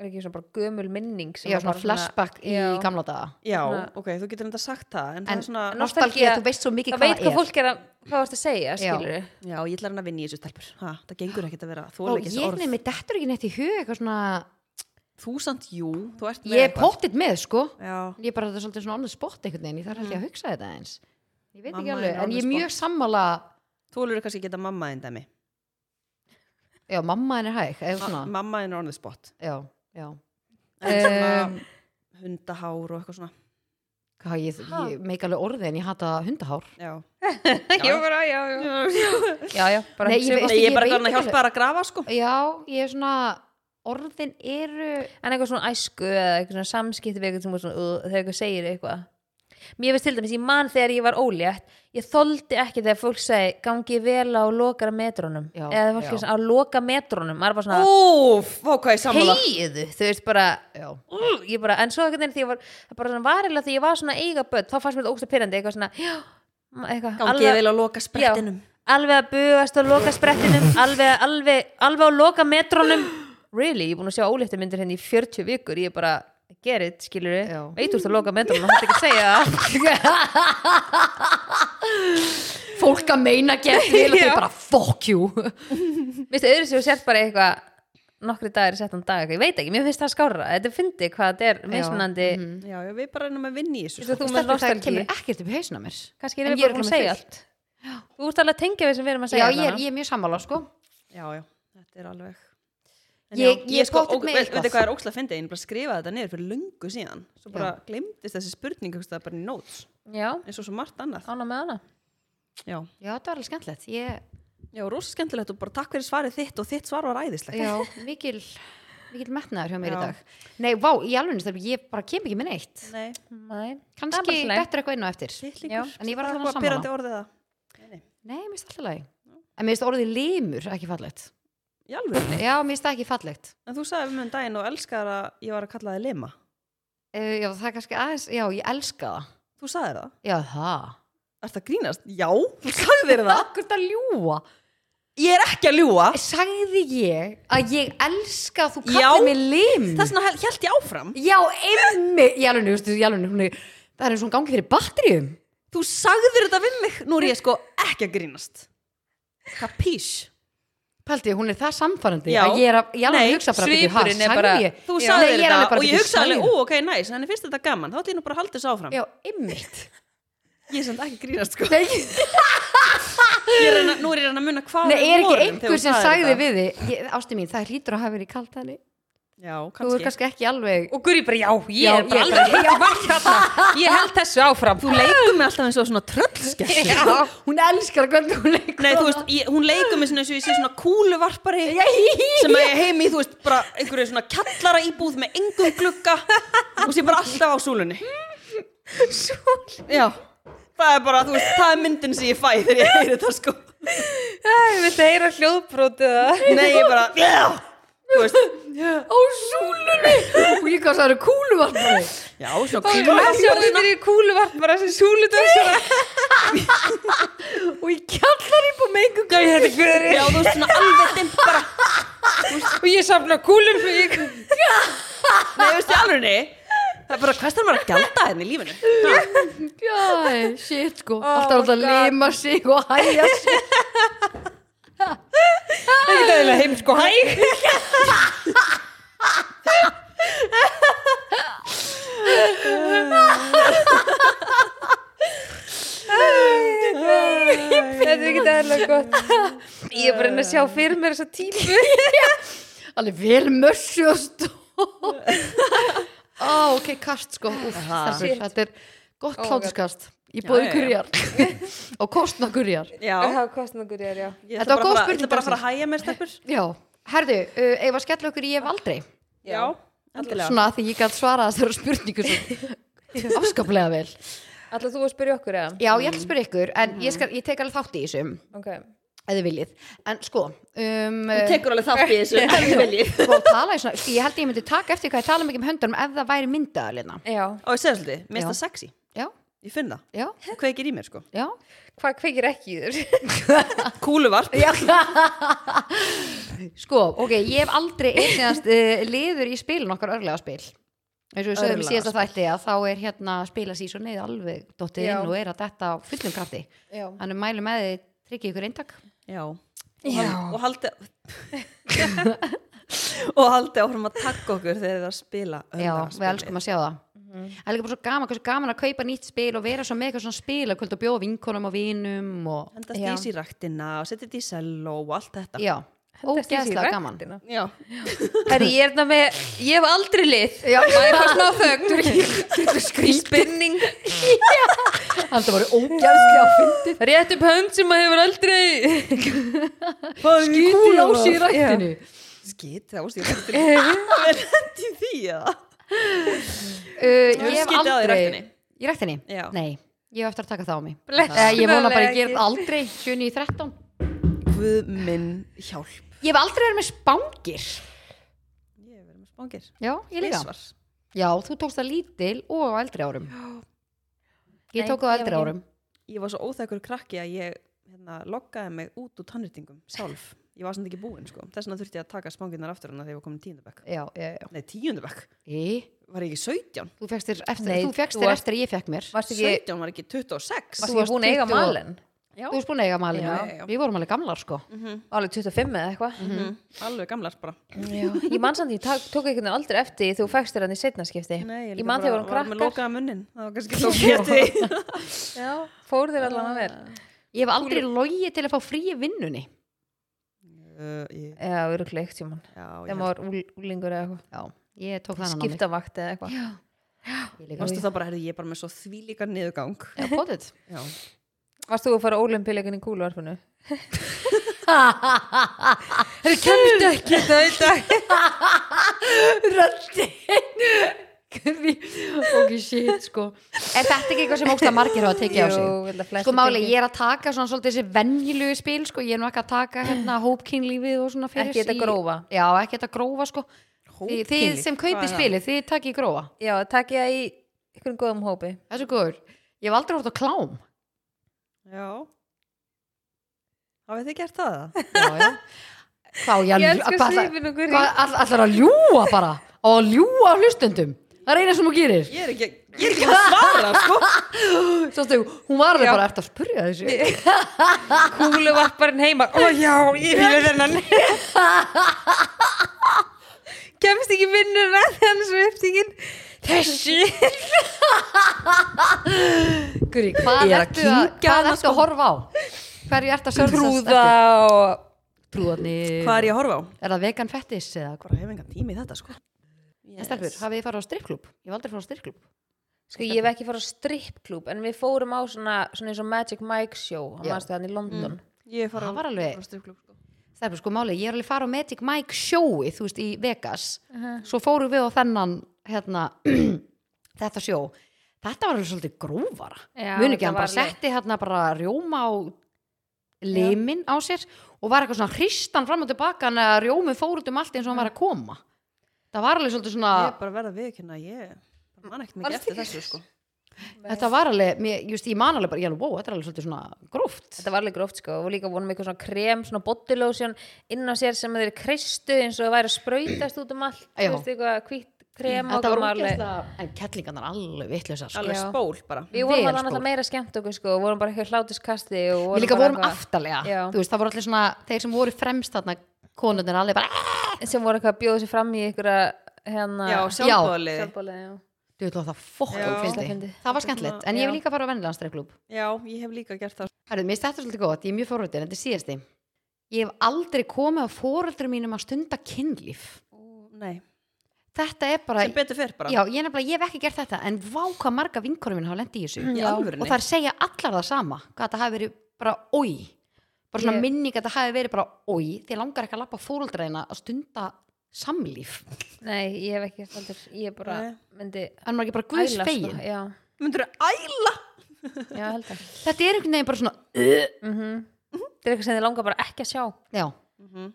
Speaker 2: er ekki svona bara gömul minning sem
Speaker 1: Já,
Speaker 2: er
Speaker 1: svona
Speaker 2: bara
Speaker 1: flashback í
Speaker 2: Já.
Speaker 1: gamla daga
Speaker 3: Já,
Speaker 2: Svona-
Speaker 3: ok, þú getur enda sagt það, en, það
Speaker 1: Hérna- En
Speaker 3: er svona,
Speaker 1: nostalgía, þú veist svo mikið
Speaker 2: Það
Speaker 1: hvað
Speaker 2: veit hvað
Speaker 1: það er
Speaker 2: fólk er að, hvað varst að segja,
Speaker 1: Já.
Speaker 2: skilur við
Speaker 3: já, ég ætla hann að vinna í þessu stelpur, ha, það gengur ekkert að vera, þú
Speaker 1: Og
Speaker 3: ekki
Speaker 1: ég nefnir, dettur ekki neitt í hug eitthvað svona
Speaker 3: Þú samt, jú, þú ert með
Speaker 1: Ég er pottitt með, sko
Speaker 3: Já,
Speaker 1: Ég er bara þetta er svolítið svona annað spott einhvern veginn Ég þarf held ég að hugsa þetta eins Ég veit
Speaker 3: Mamma
Speaker 1: ekki alveg,
Speaker 3: er on
Speaker 1: en
Speaker 3: the
Speaker 1: ég er mjög sammála
Speaker 3: þú alveg kannski geta mamma þinn dæmi
Speaker 1: Já, mamma henni er hæg, eða
Speaker 3: Ma
Speaker 1: svona
Speaker 3: Mamma þinn er on the spot
Speaker 1: Já, já
Speaker 3: En svona
Speaker 1: Um,
Speaker 3: hundahár og eitthvað svona
Speaker 1: Hvað, ég,
Speaker 2: Ha?
Speaker 1: ég meik alveg orðið en ég hata hundahár
Speaker 3: Já,
Speaker 2: Jú, bara, já, já Já, já, bara um
Speaker 1: Nei, ég
Speaker 2: sum-
Speaker 1: veit-
Speaker 3: Nei, ég er bara
Speaker 1: veit
Speaker 3: gana að
Speaker 1: ekki
Speaker 3: hjálpa þær að grafa sko
Speaker 1: Já, ég er svona Orðin eru
Speaker 2: en eitthvað svona æsku eða eitthvað svona samskipti við eitthvað sem er svona, uh, þegar eitthvað segir eitthvað mér finnst til dæmis, ég man þegar ég var ólétt ég þoldi ekki þegar fólk segi gangi vel á lokara metrónum
Speaker 1: Já,
Speaker 2: eða þegar fólk
Speaker 1: já.
Speaker 2: er svona á loka metrónum maður er bara svona,
Speaker 3: Úf, vá hvað ég sammála
Speaker 2: heiðu þú veist bara,
Speaker 1: Já,
Speaker 2: uh, ég bara en svo eitthvað þegar ég var, það bara svona varilega þegar ég var svona að eiga börn, þá fannst mér þetta ógsta pyrrandi eitthvað svona, já, eitthvað
Speaker 3: Gangi vel á loka sprettinum
Speaker 2: alveg að bugast á loka sprettinum alveg, alveg, alveg á loka metrónum really, ég er búin að sjá óléttu myndir henni í 40 vikur, ég er bara get it, skilur við,
Speaker 1: Já.
Speaker 2: veit úr það loka metrónum hann ekki að segja það
Speaker 1: fólk að meina gett vel og
Speaker 2: Já.
Speaker 1: þau bara fuck you
Speaker 2: Vistu, öðru sem þú sért bara eitthvað nokkri dagir, settan dag, eitthvað, ég veit ekki, mér finnst það skárra þetta fyndi hvað þetta er mismunandi
Speaker 1: Mhm.
Speaker 3: Já, já, við bara erum að vinna í þessu
Speaker 2: Vistu,
Speaker 3: sko.
Speaker 2: þú með
Speaker 1: Stelpur, það
Speaker 2: nostalgíu,
Speaker 1: kemur ekkert upp í hausin á mér
Speaker 2: kannski er
Speaker 1: En ég
Speaker 2: við
Speaker 1: er
Speaker 2: bara búin að
Speaker 1: ekki með
Speaker 2: segja allt þú ert alveg að tengja við sem við erum að
Speaker 1: já,
Speaker 2: segja
Speaker 1: ég er,
Speaker 2: þarna.
Speaker 1: ég er mjög sammála sko
Speaker 3: Já, já, þetta er alveg En
Speaker 1: Ég-
Speaker 3: já,
Speaker 1: ég er pottþétt
Speaker 3: óg-
Speaker 1: með
Speaker 3: veit-
Speaker 1: eitthvað.
Speaker 3: Veitu hvað er ókslega að fyndi, ég er bara að skrifa þetta niður fyrir löngu síðan Svo bara glemdist þessi spurning einhvers staðar bara í notes
Speaker 2: já,
Speaker 3: eins og svo margt annað
Speaker 2: ána með ána
Speaker 3: Já,
Speaker 1: já, þetta var alveg skemmtilegt ég,
Speaker 3: já rosa skemmtilegt og bara takk fyrir svarið þitt og þitt svar var æðislegt
Speaker 1: já, mikil mikil metnaður hjá mér
Speaker 3: Já.
Speaker 1: í dag nei, vá, í alveg stelpur, ég bara kem ekki með neitt
Speaker 3: Nei,
Speaker 2: Nei. Það er bara
Speaker 1: kannski
Speaker 2: allt í lagi.
Speaker 1: dettur eitthvað inn á eftir
Speaker 2: Já.
Speaker 3: Tittlingur.
Speaker 1: En ég var
Speaker 3: Það er
Speaker 1: allavega
Speaker 3: eitthvað
Speaker 1: sammála.
Speaker 3: pirrandi orðið það.
Speaker 1: nei, mér finnst alltaf lagi en mér finnst orðið limur ekki fallegt
Speaker 3: Í alvöru?
Speaker 1: já, mér finnst það ekki fallegt
Speaker 3: En þú sagði um enn daginn og elskar að ég var að kalla þið lema.
Speaker 1: uh, já, það er kannski aðeins, já, ég elska það
Speaker 3: Þú sagði það.
Speaker 1: já, það
Speaker 3: Er það grínast? Já, þú sagði þér það.
Speaker 1: akkur það ljúa
Speaker 3: Ég er ekki að ljúa.
Speaker 1: sagði ég að ég elska að þú
Speaker 3: Já.
Speaker 1: kallir mig lim
Speaker 3: Þess vegna held ég áfram.
Speaker 1: Já, einmitt Í alveg, veistu, í alveg, hún er Það er eins og hún gangi fyrir batteríum
Speaker 3: Þú sagði þér þetta við mig. Nú er ég sko ekki að grínast. Kapís.
Speaker 1: Paldi, hún er það samfærandi
Speaker 3: Já.
Speaker 1: að ég er að, ég alveg
Speaker 3: Nei,
Speaker 1: hugsa bara byrju, ha,
Speaker 2: svipurinn er
Speaker 1: sagði
Speaker 2: bara-
Speaker 1: ég,
Speaker 3: Þú
Speaker 1: Já.
Speaker 3: sagði
Speaker 1: Nei,
Speaker 3: þér
Speaker 1: ég er
Speaker 3: þetta
Speaker 1: alveg bara,
Speaker 3: og
Speaker 1: byrju,
Speaker 3: ég hugsa
Speaker 1: sagði
Speaker 3: alveg,
Speaker 1: hún?
Speaker 3: ú, ok, næs, nice, henni finnst þetta gaman. Þá ætlum ég nú bara að halda þessu áfram.
Speaker 1: Já, einmitt
Speaker 3: Ég er samt ekki að grínast sko.
Speaker 1: Nei,
Speaker 3: Ég er að reyna- Nú er ég að reyna að muna hvað
Speaker 1: er
Speaker 3: við
Speaker 1: ekki
Speaker 3: vorum þegar
Speaker 1: einhver
Speaker 3: þú
Speaker 1: sem
Speaker 3: sagðir
Speaker 1: sagði
Speaker 3: þetta.
Speaker 1: við þig ég- Ástu mín, það hlýtur að hafa verið kalt henni
Speaker 3: Já,
Speaker 1: þú er
Speaker 3: kannski.
Speaker 1: kannski ekki alveg
Speaker 2: og Guri bara já, ég
Speaker 1: Já,
Speaker 2: er bara
Speaker 1: ég-
Speaker 2: alveg ég, var hérna, ég held þessu áfram
Speaker 3: Þú leikur mig alltaf eins og svona tröllskessu.
Speaker 1: Já, hún elskar hvernig hún leikur
Speaker 3: Nei, þú veist, ég, hún leikur mig svona eins og ég sé svona kúluvarpari sem að ég heimi, þú veist, bara einhverju svona kjallara íbúð með engum glugga og sé bara alltaf á súlunni. Súlunni? Já. Það er bara, þú veist, það er myndin sem ég fæ þegar ég heyri þetta, sko.
Speaker 2: ég vilti heyra hljóðbrótið
Speaker 3: Nei, ég bara, já, þú veist,
Speaker 1: á súlunni og ég kannski að það eru kúluvarpari
Speaker 3: já, svona
Speaker 2: og
Speaker 3: kúluvarpari.
Speaker 2: sjáðu þér í kúluvart bara sem súlutöðsuna
Speaker 1: og ég kjallar upp á mengu
Speaker 2: já, ég hefði Guri
Speaker 3: Já, þú veist, svona alveg dimmt bara,
Speaker 2: og ég safna kúlum fyrir ég
Speaker 3: nei, þú veist, í alvegni. Það er bara, hvað starf maður að gjalda henni í lífinu? Ha?
Speaker 1: Já, shit sko, alltaf
Speaker 2: Oh my
Speaker 1: alltaf að
Speaker 2: God.
Speaker 1: lima sig og hæja sig
Speaker 2: ekkert aðeins heim sko hæ Þetta er ekki aðeins gott Ég er bara að reyna að sjá fyrir mér þessa típu
Speaker 1: alveg vel mössu og stó Ó, ok, kast sko Úf, þessir,
Speaker 2: Shit.
Speaker 1: þetta er gott
Speaker 2: Oh my God.
Speaker 1: hlátuskast í
Speaker 3: Já,
Speaker 1: bóði
Speaker 3: já, já.
Speaker 1: kurjar og kostna kurjar
Speaker 3: Já,
Speaker 2: Það er kostnagur ég er já
Speaker 3: ég
Speaker 1: Þetta
Speaker 3: ætla
Speaker 1: var
Speaker 3: bara
Speaker 1: góð
Speaker 3: að fara- ég ætla
Speaker 1: spurning
Speaker 3: bara að fara að hæja mér stelpur.
Speaker 1: Já, herðu, uh, eigum við að skella okkur í ef aldrei
Speaker 3: Já, endilega.
Speaker 1: svona af því ég gæti svarað þessari spurningu svo afskaplega vel
Speaker 2: Alltaf þú að spyrja okkur eða?
Speaker 1: Já, ég ætla að spyrja ykkur en ég, skal, ég tek alveg þátt í þessum
Speaker 2: Ok
Speaker 1: ef þið viljið, en sko um,
Speaker 3: Þú tekur alveg þátt í þessu, ef þú viljið.
Speaker 1: sko, tala í svona, ég held ég myndi taka eftir hvað ég tala mikið um höndunum ef það væri myndaðalina
Speaker 2: Já
Speaker 3: Og ég segi svolítið, mér
Speaker 1: Já.
Speaker 3: finnst það sexy,
Speaker 1: já,
Speaker 3: ég finn það
Speaker 1: já,
Speaker 3: Það kveikir í mér sko
Speaker 1: já,
Speaker 2: Hvað kveikir ekki í þér?
Speaker 3: Kúluvarp
Speaker 1: já. sko, ok, ég hef aldrei einhverjast uh, liður í spilin okkar örlega spil eins og við sögum í síðasta þætti að þá er hérna spila sísoni alveg dottið
Speaker 2: Já.
Speaker 1: inn og er að detta á fullum krafti
Speaker 2: Já
Speaker 1: þannig mælu með þið tryggja ykkur eintak
Speaker 3: Já
Speaker 2: Já
Speaker 3: Og haldi Og haldi áfram að takka okkur þegar það er að spila
Speaker 1: já, við elskum að sjá það það er líka bara svo gaman, hversu gaman að kaupa nýtt spil og vera svo með eitthvað svona spil að kvölda og bjóða vinkonum og vinum og
Speaker 3: Hendast
Speaker 2: Já.
Speaker 3: í sér ræktina og setja þetta í selló og allt þetta
Speaker 1: já,
Speaker 2: Hendast í sig í
Speaker 1: ógeðslega gaman
Speaker 2: ræktina.
Speaker 3: Já.
Speaker 2: Herri, ég er það með, ég hef aldrei lið
Speaker 1: Já.
Speaker 2: og ég fannst ná þögn í spinning
Speaker 1: Þetta var ógæðslega fyndið
Speaker 2: rétt upp hönd sem maður hefur aldrei
Speaker 1: Kúla á sig í rættinu
Speaker 3: Skita á sér ræktina Það er hendt í því eða?
Speaker 1: uh, Ég hef
Speaker 3: Skítið á þig í
Speaker 1: aldrei
Speaker 3: ræktinni?
Speaker 1: Í rættinni?
Speaker 3: Já.
Speaker 1: Nei, ég hef eftir að taka það á mig
Speaker 2: Blessunarlega
Speaker 1: uh, Ég vona bara að
Speaker 2: ekki.
Speaker 1: ég gera aldrei 7, 9, 13
Speaker 3: Guð minn hjálp
Speaker 1: Ég hef aldrei verið með spangir
Speaker 3: Ég hef verið með spangir
Speaker 1: Já, ég líka
Speaker 3: Tvisvar.
Speaker 1: Já, þú tókst það lítil og á eldri árum
Speaker 2: Nei,
Speaker 1: Ég tók það á
Speaker 2: ég
Speaker 1: eldri
Speaker 2: var
Speaker 1: árum
Speaker 3: Ég var svo óþekkur krakki að ég hérna, loggaði mig út úr tannrýtingum sjálf Ég var samt ekki búin sko Þess vegna þurfti ég að taka spangirnar aftur hana þegar ég var komin tíundabæk
Speaker 1: Já, já, já
Speaker 3: Nei, tíundabæk
Speaker 1: Í,
Speaker 3: var ég ekki 17
Speaker 1: Þú fegst þér eftir,
Speaker 2: Nei,
Speaker 1: þú fegst
Speaker 2: þú
Speaker 1: þér
Speaker 2: varst-
Speaker 1: eftir að ég fekk mér
Speaker 2: Varst ekki,
Speaker 3: 17 var ekki
Speaker 1: Varst-
Speaker 3: 26
Speaker 2: varst
Speaker 1: þú
Speaker 2: ekki búin að
Speaker 1: 20
Speaker 2: eiga
Speaker 1: og-
Speaker 2: malen?
Speaker 1: Þú veist búin að eiga malinu
Speaker 3: Já, já, Mm. já.
Speaker 1: Við vorum alveg gamlar sko
Speaker 2: Alveg 25 eða eitthvað
Speaker 3: mm, Mhm. alveg gamlar bara
Speaker 2: Ég man samt, ég tak, tók einhvern veginn aldrei eftir þú fækst þér hann í setna skipti
Speaker 3: Nei,
Speaker 2: Ég man þegar
Speaker 3: var
Speaker 2: vorum
Speaker 3: með
Speaker 2: krakkar
Speaker 3: lokaða munnin það var kannski tók ég eftir því.
Speaker 2: Já, Ah. fór þér allan að vel
Speaker 1: Ég hef aldrei logið til að fá frí í vinnunni
Speaker 3: uh, ég,
Speaker 2: Já, örugleikt síman
Speaker 3: já,
Speaker 2: Þegar
Speaker 3: ég held-
Speaker 2: maður var úl- úlingur eða eitthvað
Speaker 1: Já, ég tók það á mig
Speaker 2: Skiptavakt eða eitthvað
Speaker 1: Já, ég líka
Speaker 3: Varstu það bara, heyrðu, ég er bara með svo þvílíkan niðurgang
Speaker 1: Já, potið
Speaker 3: Já,
Speaker 2: Varst þú að fara ólimpileikin í kúluvarpinu? Það kemst ekki það í dag
Speaker 1: Röndin Ok, shit, sko Er þetta ekki eitthvað sem ógsta margir hafa tekið á sig? Sko máli, ég er að taka svona svolítið þessi venjulegu spil, sko, ég er nú ekki að taka hérna hópkynlífið og svona fyrir
Speaker 2: Ekki þetta
Speaker 1: sig.
Speaker 2: grófa.
Speaker 1: Já, ekki þetta grófa, sko Þið, þið
Speaker 3: Hópkynlíf,
Speaker 1: sem
Speaker 3: hvað
Speaker 1: kaupið
Speaker 3: er það?
Speaker 1: spilið, þið takkið grófa
Speaker 2: Já, takk ég það í einhverjum góðum hópi
Speaker 1: Það er svo góður Ég hef aldrei hótt á klám
Speaker 3: já Hafið þið gert það? eða?
Speaker 1: Já, já Hvað, á ég,
Speaker 2: Ég
Speaker 1: að-
Speaker 2: elska
Speaker 1: hvað-
Speaker 2: svipinn og hverju.
Speaker 1: hvað, all- Allar að ljúga bara og að ljúga á hlustendum Það er eina sem hún gerir
Speaker 3: Ég er ekki, ég er ekki búin að svara sko.
Speaker 1: Sástu, hún var alveg
Speaker 2: Já.
Speaker 1: bara eftir að spurja þessu
Speaker 2: Kúluvarparinn heima Ó já, ég hérna. fíla þennan Kemst ekki vinnuna þannig sem upptíkin Þessi
Speaker 1: Guri, hvað
Speaker 3: Ég er að
Speaker 1: ertu að,
Speaker 3: kyngja
Speaker 1: hvað
Speaker 3: hana,
Speaker 1: ertu að horfa á? Hverju ertu að sörða?
Speaker 2: Trúða og
Speaker 1: trúðarnir
Speaker 3: Hvað er ég að horfa á?
Speaker 1: Er það vegan fettis eða hvað?
Speaker 3: Bara hef engan tími í þetta sko
Speaker 1: Yes. Stelfur, hafið þið farið á strikkklub? Ég var aldrei farið á strikkklub.
Speaker 2: Sko ég hef ekki farið á strippklúb en við fórum á svona, svona eins og Magic Mike show á
Speaker 1: Já. Mm.
Speaker 2: mannstu þannig í London
Speaker 3: Ég fara
Speaker 1: Það var alveg-
Speaker 3: stripklub sko.
Speaker 1: Stelfur, sko máli, ég er alveg farið á Magic Mike sjói, þú veist, í Vegas. Svo fórum við á þennan, hérna, þetta sjó. Þetta var alveg svolítið grófara.
Speaker 2: Já,
Speaker 1: Muni
Speaker 2: þetta
Speaker 1: ekki, hann
Speaker 2: var
Speaker 1: bara
Speaker 2: alveg-
Speaker 1: setti hérna bara rjóma á limin á sér og var eitthvað svona hristan fram og tilbaka en að rjómi fór út um allt eins og hann var að koma. Það var alveg svolítið svona...
Speaker 3: Ég
Speaker 2: Ah.
Speaker 3: er bara að verða við ekki að ég bara man ekkert mikið
Speaker 2: Alls
Speaker 3: eftir
Speaker 2: ekki.
Speaker 3: þessu sko
Speaker 1: Þetta var alveg, mér, just, ég man alveg bara, ég alveg, wow, þetta er alveg svolítið svona gróft.
Speaker 2: Þetta var alveg gróft sko og líka vonum eitthvað svona krem, svona body lotion inn á sér sem þeir kristu eins og það væri að sprautast út um allt
Speaker 1: Já.
Speaker 2: Þú veist eitthvað hvitt krem
Speaker 1: Þetta var
Speaker 2: og alveg-
Speaker 1: ógeðslega, en kettlingarnar alveg vitleysar, sko.
Speaker 3: Alveg
Speaker 2: Já.
Speaker 3: spól bara
Speaker 2: Við vorum
Speaker 1: vel
Speaker 2: að það
Speaker 1: stór.
Speaker 2: meira skemmt okkur sko og vorum bara eitthvað hlátuskasti og
Speaker 1: Við
Speaker 2: vorum
Speaker 1: líka
Speaker 2: bara
Speaker 1: vorum
Speaker 2: eitthvað-
Speaker 1: aftalega,
Speaker 2: Já.
Speaker 1: þú veist, það voru allir svona, þeir sem voru fremst þarna, konurnir alveg bara, "Ah!"
Speaker 2: sem voru eitthvað að bjóða sér fram í einhverja hérna
Speaker 3: Já, sjálfbóðalið
Speaker 2: sjálfbólið, já.
Speaker 1: þú veit, það fokkum
Speaker 3: Já.
Speaker 1: fyndi.
Speaker 2: Fyndi.
Speaker 1: Það var skemmtilegt, en ég hef
Speaker 2: Já.
Speaker 1: líka farið á vennilegan streifklub.
Speaker 3: Já, ég hef líka gert það
Speaker 1: Herðu, mér stættur svolítið gott, ég er mjög forvöldin, þetta er síðasti. Ég hef aldrei komið á fóröldur mínum að stunda kynlíf.
Speaker 3: Nei,
Speaker 1: Þetta er bara,
Speaker 3: sem betur fer bara
Speaker 1: já, ég, er nefnilega, ég hef ekki gert þetta, en vá hvað marga vinkonum minn hafa lendið í þessu.
Speaker 3: Í
Speaker 2: Já,
Speaker 1: og
Speaker 3: alvörunni
Speaker 1: þær segja allar það sama hvað þetta hafi verið bara oi bara svona
Speaker 2: Ég-
Speaker 1: minning að þetta hafi verið bara oi því langar ekki að lappa fóröldreina að stunda samlíf
Speaker 2: Nei, ég hef ekki heldur, ég bara
Speaker 3: Nei.
Speaker 2: myndi
Speaker 1: en maður ekki bara guðs
Speaker 2: æla,
Speaker 1: fegin
Speaker 2: sko. Já,
Speaker 3: Myndur þú æla?
Speaker 2: já, held að
Speaker 1: þetta er einhvern veginn bara svona uh,
Speaker 2: mm Það er eitthvað sem þið langar bara ekki að sjá
Speaker 1: já.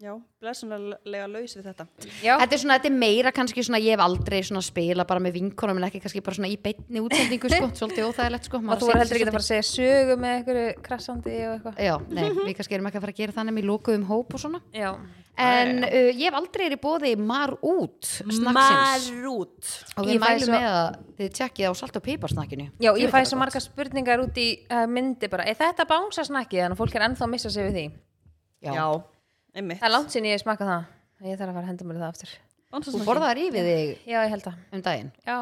Speaker 3: Já, blessunarlega laus við þetta
Speaker 2: Já,
Speaker 1: þetta er svona, þetta er meira kannski svona ég hef aldrei svona spila bara með vinkonum en ekki kannski bara svona í beinni útsendingu sko, svolítið óþægilegt sko
Speaker 2: og þú voru heldur ekki að fara Mhm. að segja sögu með einhverju krassandi og eitthvað
Speaker 1: Já, nei, við kannski erum ekki að fara að gera þannig með lókuðum hóp og svona
Speaker 2: Já,
Speaker 1: En uh, ég hef aldrei er í bóði marút snakksins
Speaker 3: Marút
Speaker 1: Og við
Speaker 2: Ég fæ
Speaker 1: mælum
Speaker 2: svo-
Speaker 1: með að þið tjekkið á salt og piparsnakkinu
Speaker 2: já ég fæ svo margar spurningar út í uh, myndi bara Er þetta bánsasnakki? Þannig að fólk er ennþá að missa sig við því
Speaker 1: Já,
Speaker 3: Já, einmitt
Speaker 2: Það er langt sinni ég smaka það Ég þarf að fara að henda mér í það aftur
Speaker 1: Þú
Speaker 3: Bonsasnakki.
Speaker 1: borðaðar yfir þig
Speaker 2: Já, ég held að
Speaker 1: um daginn,
Speaker 2: Já,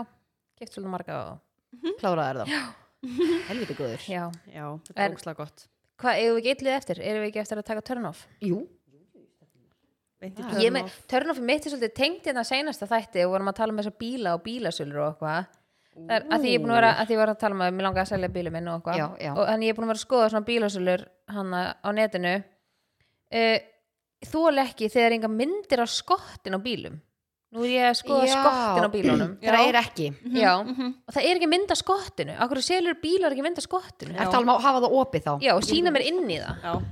Speaker 2: keft svolítið marga og
Speaker 1: kláraðar þá Helviti góður
Speaker 2: Mhm. Já,
Speaker 3: Já, þetta er
Speaker 2: En-
Speaker 3: ógslag gott
Speaker 2: hvað, eigum við ekki eitthvað eftir? Erum við ekki eftir að taka turn off?
Speaker 1: Jú,
Speaker 3: Beint í
Speaker 1: Ah.
Speaker 3: turn
Speaker 2: ég með,
Speaker 3: off.
Speaker 2: törnoffi mitt er svolítið tengt hérna seinasta þætti og vorum að tala um þessa bíla og bílasölur og eitthvað Það er að því ég er búin að vera að því ég var að tala um að mér langa að selja bílu minn og eitthvað
Speaker 1: Já, já.
Speaker 2: og þannig ég er búin að vera að skoða svona bílasölur hana á netinu uh, þóla ekki þegar enga myndir á skottin á bílum nú er ég að skoða
Speaker 1: Já.
Speaker 2: skottin á bílunum
Speaker 1: það er ekki
Speaker 3: Mhm.
Speaker 2: já, og það er ekki mynd af skottinu akkur selur bílar ekki mynd af skottinu
Speaker 1: Ertu alveg að hafa það opið þá?
Speaker 2: já, og sína mér inn í það
Speaker 3: Já,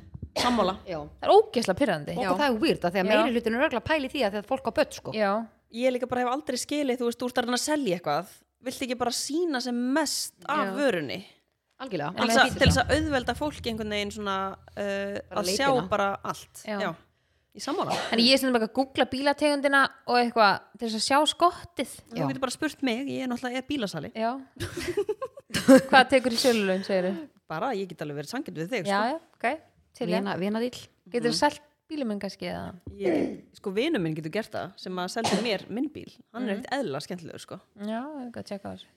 Speaker 3: sammála
Speaker 1: Já.
Speaker 2: það er ógeðslega pyrrandi
Speaker 1: Og það er weird að því að
Speaker 2: Já.
Speaker 1: meiri hlutinu er örgulega pæli því að þegar fólk á börn sko
Speaker 2: já,
Speaker 3: Ég líka bara hef aldrei skilið, þú veist, þú ert að reyna að selja eitthvað Vilt ekki bara sína sem mest af
Speaker 2: Já.
Speaker 3: vörunni
Speaker 1: Algjörlega
Speaker 3: Alls að,
Speaker 2: ekki
Speaker 3: til þess að auðvelda fólki einhvern veginn svona uh,
Speaker 1: Bara
Speaker 3: að sjá
Speaker 1: leitina.
Speaker 3: bara allt
Speaker 2: Já.
Speaker 3: Í sammála
Speaker 2: Þannig ég er stundum eitthvað að googla bílategundina og eitthvað til þess að sjá skottið.
Speaker 1: Já.
Speaker 3: Þú getur bara spurt mig, ég er náttúrulega er bílasali
Speaker 2: Já. Hvað tekur í sölulögn, segir þau?
Speaker 3: Bara, ég get alveg verið sangjönd við þig
Speaker 2: Já,
Speaker 3: sko.
Speaker 2: já, ok. Til ég.
Speaker 1: Vina, vinadýl
Speaker 2: Getur þú sælt bílum en kannski eða?
Speaker 3: Ég, sko, vinu minn getur gert það sem að selja mér minn bíl Hann
Speaker 1: Mhm.
Speaker 3: er eitt eðla skemmtilegur sko.
Speaker 2: Já, ég er ekki að tjekka á þessu.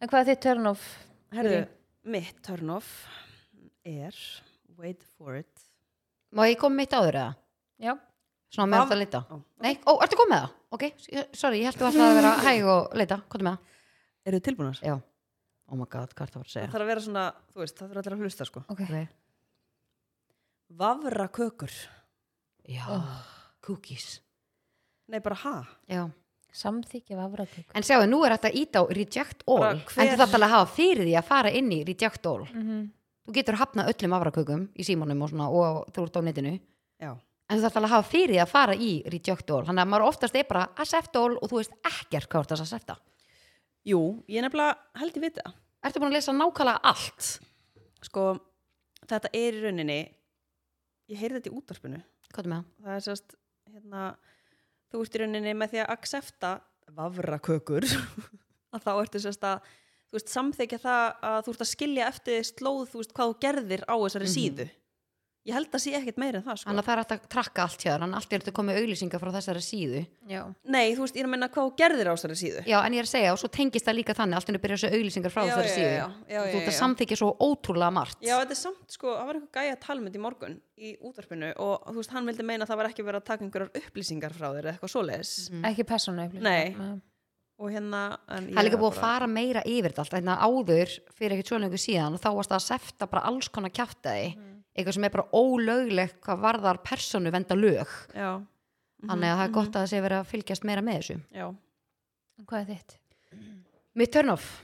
Speaker 2: En hvað er þitt turn off?
Speaker 3: Herðu, mitt turn off er Wait for it
Speaker 1: Má ég koma mitt áður eða?
Speaker 2: Já.
Speaker 1: Svona með
Speaker 3: Af-
Speaker 1: þetta að leita
Speaker 3: Ó.
Speaker 1: Nei, ó, ertu komið með það? Ok, s- sorry, ég held þú alltaf að vera hæg og leita Hvað er með það?
Speaker 3: Eru þið tilbúinar?
Speaker 1: Já Oh my god, hvað er það að
Speaker 3: Það
Speaker 1: segja?
Speaker 3: þarf að vera svona, þú veist, það þarf allir að hlusta sko
Speaker 2: Ok.
Speaker 1: Okay.
Speaker 3: Vafra kökur
Speaker 1: Já,
Speaker 2: Oh.
Speaker 1: cookies
Speaker 3: Nei, bara ha?
Speaker 1: Já
Speaker 2: Samþykja vafrakökur.
Speaker 1: En sjáu, nú er þetta ít á reject all
Speaker 3: Bara
Speaker 1: en
Speaker 3: hver-
Speaker 1: þú þarf alveg að hafa fyrir því að fara inn í reject all
Speaker 2: Mm -hmm.
Speaker 1: þú getur hafnað öllum afrakökum í símanum og, svona, og þú ert á netinu en
Speaker 3: Já
Speaker 1: þú þarf alveg að hafa fyrir því að fara í reject all þannig að maður oftast er bara accept all og þú veist ekkert hvað þú ert að accepta
Speaker 3: Jú, ég nefnilega held ég vita
Speaker 1: Ertu búin að lesa nákvæmlega allt?
Speaker 3: Sko, þetta er í rauninni Ég heyrði þetta í útvarpinu
Speaker 1: Hvað er með það?
Speaker 3: Það er sérst, hérna Þú ert í rauninni með því að accepta Vafra kökur að þá ertu sérst að þú veist, samþekja það að þú ert að skilja eftir því slóð, þú veist, hvað þú gerðir á þessari síðu ég held að sé ekkert meira en það sko.
Speaker 1: Þannig að það er hægt að trakka allt hjá þér, hann allt er þetta komið auglýsingar frá þessari síðu.
Speaker 2: já,
Speaker 3: nei, þú veist, ég er að menna hvað þú gerðir á þessari síðu
Speaker 1: Já, en ég er að segja, og svo tengist það líka þannig, allt er að byrja þessu auglýsingar frá
Speaker 3: Já,
Speaker 1: þessari
Speaker 3: já,
Speaker 1: síðu.
Speaker 3: já, já,
Speaker 1: Þú
Speaker 3: já,
Speaker 1: ert að
Speaker 3: já.
Speaker 1: samþykja svo ótrúlega margt.
Speaker 3: Já, þetta er samt sko, það var eitthvað gæja talmynd í morgun í útvarpinu og þú veist, hann vildi meina að það var ekki verið að taka einhverjar upplýsingar frá þér eða eitthvað svoleiðis
Speaker 1: Mhm.
Speaker 2: ekki persónu
Speaker 3: Nei. og hérna en
Speaker 1: Það er
Speaker 3: ég
Speaker 1: líka
Speaker 3: var
Speaker 1: búið að fara meira yfir þetta allt, þannig að áður fyrir ekkert svo lengur síðan og þá varst það að sefta bara alls konar kjaftaði,
Speaker 3: Mhm.
Speaker 1: eitthvað sem er bara ólöglegt hvað varðar personu venda lög.
Speaker 3: Já, Mhm,
Speaker 1: Þannig að það er gott að það sé verið að fylgjast meira með þessu.
Speaker 3: já
Speaker 2: hvað er þitt?
Speaker 1: Mitt turn off.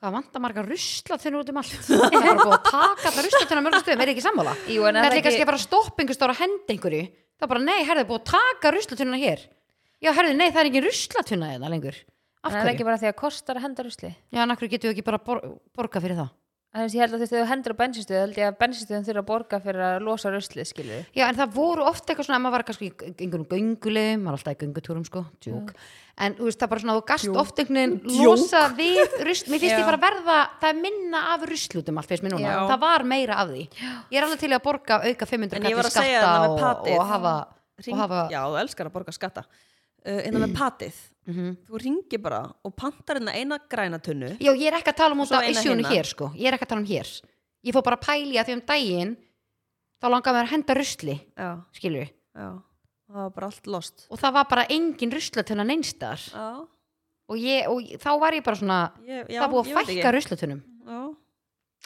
Speaker 1: Hvað vantar marga rusla þunni út um allt? Það er bara búið að taka alltaf rusla þunni á mörgum stöðum, er ekki sammála?
Speaker 2: Jú, en
Speaker 1: Það
Speaker 2: er
Speaker 1: er kannski
Speaker 2: ekki,
Speaker 1: bara að stoppa einhver stóra hend einhverju. Það er bara, nei, herðu, búið að taka ruslatunna hér. Já, herðu, nei, það er engin ruslatunna eða lengur. Af
Speaker 2: en er
Speaker 1: hverju?
Speaker 2: ekki bara því að kostar að henda rusli
Speaker 1: Já, en af hverju getum við ekki bara bor borga fyrir það?
Speaker 2: Þannig að ég held að þú veist, ef þú hendur á bensinstöðu, þá held ég að bensinstöðun þurfa að borga fyrir að losa ruslið, skilur við.
Speaker 1: Já, en það voru oft eitthvað svona, ef maður var kannski í einhvern göngulegum, maður var alltaf í göngutúrum, sko, djúk. En þú veist, það er bara svona, þú gast oft einhvern veginn
Speaker 3: Djók.
Speaker 1: losa við rusl, mér finnst
Speaker 2: Já.
Speaker 1: ég bara verða, það er minna af ruslutum allt, finnst mér núna.
Speaker 3: Já.
Speaker 1: Það var meira af því. Ég er alveg til í að borga auka 500
Speaker 3: En ég
Speaker 1: kallir
Speaker 3: var að segja
Speaker 1: skatta
Speaker 3: þarna með
Speaker 1: og,
Speaker 3: patið.
Speaker 1: og hafa,
Speaker 3: Hring,
Speaker 1: og hafa,
Speaker 3: Já, þú elskar að borga skatta uh, Innan með patið
Speaker 1: Mhm.
Speaker 3: Þú ringir bara og pantar hérna eina grænatunnu
Speaker 1: Já, ég er ekki að tala um
Speaker 3: Og
Speaker 1: út
Speaker 3: svo
Speaker 1: af
Speaker 3: eina hérna.
Speaker 1: issjónu
Speaker 3: hinna.
Speaker 1: hér, sko. Ég er ekki að tala um hér. Ég fór bara að pæli að því um daginn þá langaði mér að henda rusli,
Speaker 3: Já,
Speaker 1: skilur við.
Speaker 3: já Það var bara allt lost
Speaker 1: Og það var bara engin ruslatunna neynstar.
Speaker 3: Já,
Speaker 1: Og, ég, og ég- þá var ég bara svona,
Speaker 3: ég, já
Speaker 1: það er búið að
Speaker 3: ég veit
Speaker 1: fækka
Speaker 3: ekki.
Speaker 1: ruslatunum.
Speaker 3: Já,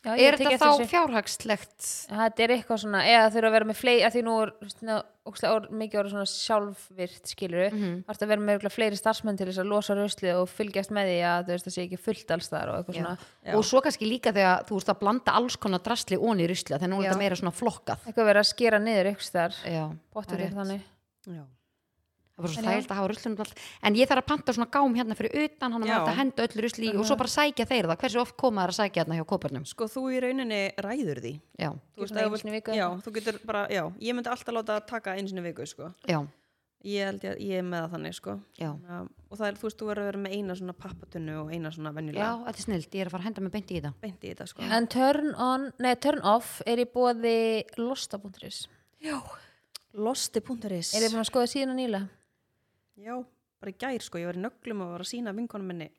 Speaker 2: Já, ég
Speaker 1: Er
Speaker 2: tek
Speaker 1: þetta
Speaker 2: eftir
Speaker 1: þá
Speaker 2: þessu.
Speaker 1: fjárhagslegt?
Speaker 2: Þetta er eitthvað svona, eða þurfa að vera með fleiri, að því nú er svona, ókslega, or, mikið orðið svona sjálfvirt, skilur við,
Speaker 1: Mhm.
Speaker 2: þarf að vera með örugglega fleiri starfsmenn til þess að losa ruslið og fylgjast með því að þú veist, það sé ekki fullt alls þar og eitthvað
Speaker 1: Já.
Speaker 2: svona,
Speaker 3: Já.
Speaker 1: Og svo kannski líka þegar þú veist að blanda alls konar drasli onni í rusla, þegar nú er
Speaker 2: Já.
Speaker 1: þetta meira svona flokkað.
Speaker 2: eitthvað vera að skera niður ykkur þar,
Speaker 1: Já, það
Speaker 2: bóttur
Speaker 1: er
Speaker 2: þér
Speaker 1: rétt.
Speaker 2: þannig.
Speaker 3: já
Speaker 1: Það er bara svo
Speaker 2: En já.
Speaker 1: þægilt að hafa ruslunum allt. En ég þarf að panta svona gám hérna fyrir utan, hann er
Speaker 3: Já.
Speaker 1: hægt að henda öllu rusli í og svo bara sækja þeir það. Hversu oft koma þær að sækja hérna hjá kóparnum?
Speaker 3: Sko, þú í rauninni ræður því
Speaker 1: Já,
Speaker 3: Þú
Speaker 2: Gerum það
Speaker 3: veist, ef
Speaker 2: einu
Speaker 3: þú vilt-
Speaker 2: sinni í viku eða
Speaker 3: Já,
Speaker 2: eitthvað?
Speaker 3: þú getur bara, já Ég myndi alltaf láta að taka einu sinni í viku, sko
Speaker 1: já,
Speaker 3: Ég held ég, ég er með það þannig, sko
Speaker 1: já.
Speaker 3: Já, og það er, þú veist, þú verður að vera með eina svona pappatunnu og eina svona
Speaker 1: Já,
Speaker 3: venjulega
Speaker 1: þetta er snild, ég er að fara að henda mig beint í þetta
Speaker 3: beint í þetta sko.
Speaker 2: En turn on, nei, turn off er í bóði losta.is.
Speaker 3: Losti.is
Speaker 2: Er þið búin að skoða síðan nýlega?
Speaker 3: Já, bara í gær sko, ég var í nöglum og var að sína vinkonum minni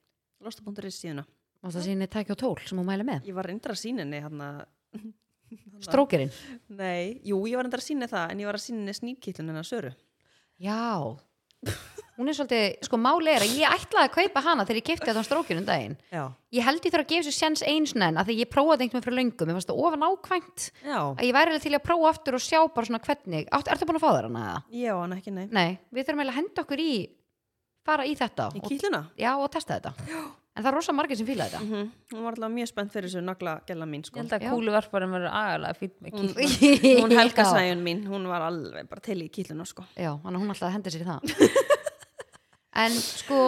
Speaker 3: Losti.is síðuna.
Speaker 1: Mást það síðan tækja og tól sem hún mæli með
Speaker 3: Ég var reyndar að sína henni hann
Speaker 1: Strókerinn
Speaker 3: Nei, jú, ég var reyndar að sína það en ég var að sína henni snýpkýtlun hennar Söru.
Speaker 1: Já Hún er svolítið, sko máli er að ég ætlaði að kaupa hana þegar ég kipti þetta á strókinn um daginn
Speaker 3: Já.
Speaker 1: Ég held ég þurfa að gefa þessu sjens eins nenn að því ég prófaði einhvern veginn fyrir löngu Mér fannst það ofan ákvæmt
Speaker 3: Já.
Speaker 1: að ég væri alveg til í að prófa aftur og sjá bara svona hvernig Átt, Ertu búin að fá þér hana? eða?
Speaker 3: Ég á hann ekki, nei.
Speaker 1: Nei, við þurfum eiginlega að henda okkur í fara í þetta
Speaker 3: Í
Speaker 1: og,
Speaker 3: kýtluna?
Speaker 1: Já, og testa þetta Já. En það er rosa margir sem fíla þetta
Speaker 3: Mm Hún var alltaf mjög spennt fyrir þessu nagla gæla mín
Speaker 2: Ég
Speaker 3: sko.
Speaker 2: held að
Speaker 1: Já. Mm.
Speaker 2: kúluvarparum verður agalega fýtt með kýtt.
Speaker 3: Hún helga
Speaker 1: Já.
Speaker 3: sæjun mín, hún var alveg bara til í kýtluna sko.
Speaker 1: Já, hann hún alltaf hendur sér í það En sko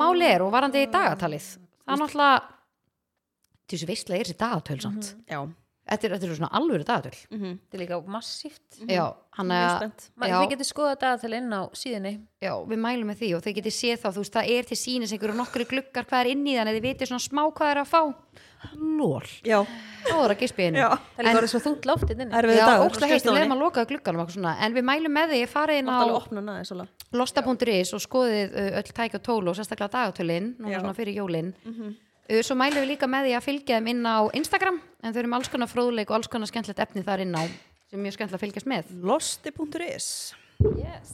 Speaker 1: Máli er og varandi í dagatalið Það er náttúrulega Til þessu veistla er þessi dagatöl samt
Speaker 3: Já.
Speaker 1: þetta, er, þetta er svona alvöru dagatöl
Speaker 3: Mm -hmm.
Speaker 2: Þetta er líka massíft.
Speaker 1: Já, hann
Speaker 3: Mhm. Mjög
Speaker 1: að
Speaker 3: spennt.
Speaker 2: Ma-
Speaker 1: Mm. Já.
Speaker 2: Þið getur skoðað dagatal inn á síðunni.
Speaker 1: Já, við mælum með því og þau getið séð þá, þú veist, það er til sínis einhverju nokkru gluggar hvað er inn í þannig, þið vitið svona smá hvað er að fá Lól,
Speaker 3: Já.
Speaker 1: þá er að gispiðinu
Speaker 3: Já.
Speaker 2: Það er líka orðið svo þungt hérna loftið inn.
Speaker 3: Erfiður
Speaker 1: Já,
Speaker 3: dagur á
Speaker 1: ókslega heitt, við
Speaker 3: skrifstofunni.
Speaker 1: leiðum að lokaða glugganum og eitthvað svona, en við mælum með því, ég farið inn
Speaker 3: Mátt alveg
Speaker 1: á
Speaker 3: opna hana aðeins alveg.
Speaker 1: losta.is og skoðið uh, öll tækja og tólu og sérstaklega dagatölin núna
Speaker 3: Já. Mhm.
Speaker 1: svona fyrir jólin uh, svo mælum við líka með því að fylgja þeim inn á Instagram en þau eru með alls konar fróðleik og alls konar skemmtilegt efni þar inn á sem er mjög skemmtilegt að fylgjast með
Speaker 3: Losti.is
Speaker 2: Yes.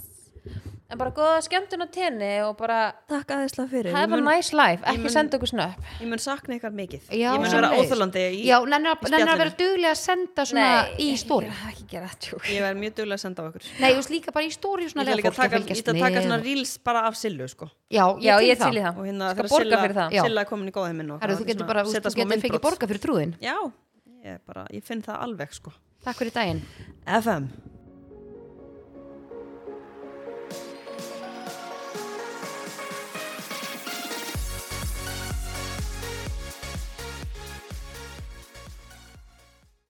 Speaker 2: En bara góða skemmtun á tenni og bara
Speaker 3: Takk aðeinslega fyrir.
Speaker 2: have a
Speaker 3: Ég mun-
Speaker 2: nice life.
Speaker 3: ég
Speaker 2: Ekki
Speaker 3: mun-
Speaker 2: senda okkur snöpp.
Speaker 3: Ég mun sakna ykkar mikið.
Speaker 1: Já,
Speaker 3: ég mun vera
Speaker 1: sömuleiðis.
Speaker 3: óþalandi.
Speaker 1: Já, nennir að, nennir að vera
Speaker 3: spjallinu.
Speaker 1: duglega að senda svona í stóri
Speaker 2: Ekki, gera- ekki gera þetta tjók.
Speaker 3: Ég verð mjög duglega að senda á ykkur.
Speaker 1: Nei, þú veist líka bara í stóri
Speaker 3: Ég
Speaker 1: svona
Speaker 3: ætla
Speaker 1: lega
Speaker 3: líka að
Speaker 1: fólk að
Speaker 3: taka, ég
Speaker 1: fylgjast
Speaker 3: ætla að taka svona
Speaker 1: með
Speaker 3: reels bara af Sillu, sko.
Speaker 1: Já,
Speaker 2: Já,
Speaker 1: ég
Speaker 2: ég
Speaker 1: til það
Speaker 2: það.
Speaker 3: Og hérna
Speaker 2: Skal
Speaker 3: þegar
Speaker 2: borga
Speaker 3: Silla-
Speaker 2: fyrir það.
Speaker 1: Já.
Speaker 3: Silla er komin í góða heiminn og
Speaker 1: Herru,
Speaker 3: það
Speaker 1: þú
Speaker 3: er
Speaker 1: getur
Speaker 3: svona-
Speaker 1: bara, þú veist,
Speaker 3: setja
Speaker 1: þú
Speaker 3: smá
Speaker 1: getur fengið
Speaker 3: myndbrot.
Speaker 1: borga fyrir trúðin
Speaker 3: Já, ég bara, ég finn það alveg, sko.
Speaker 1: Takk fyrir daginn
Speaker 3: FM.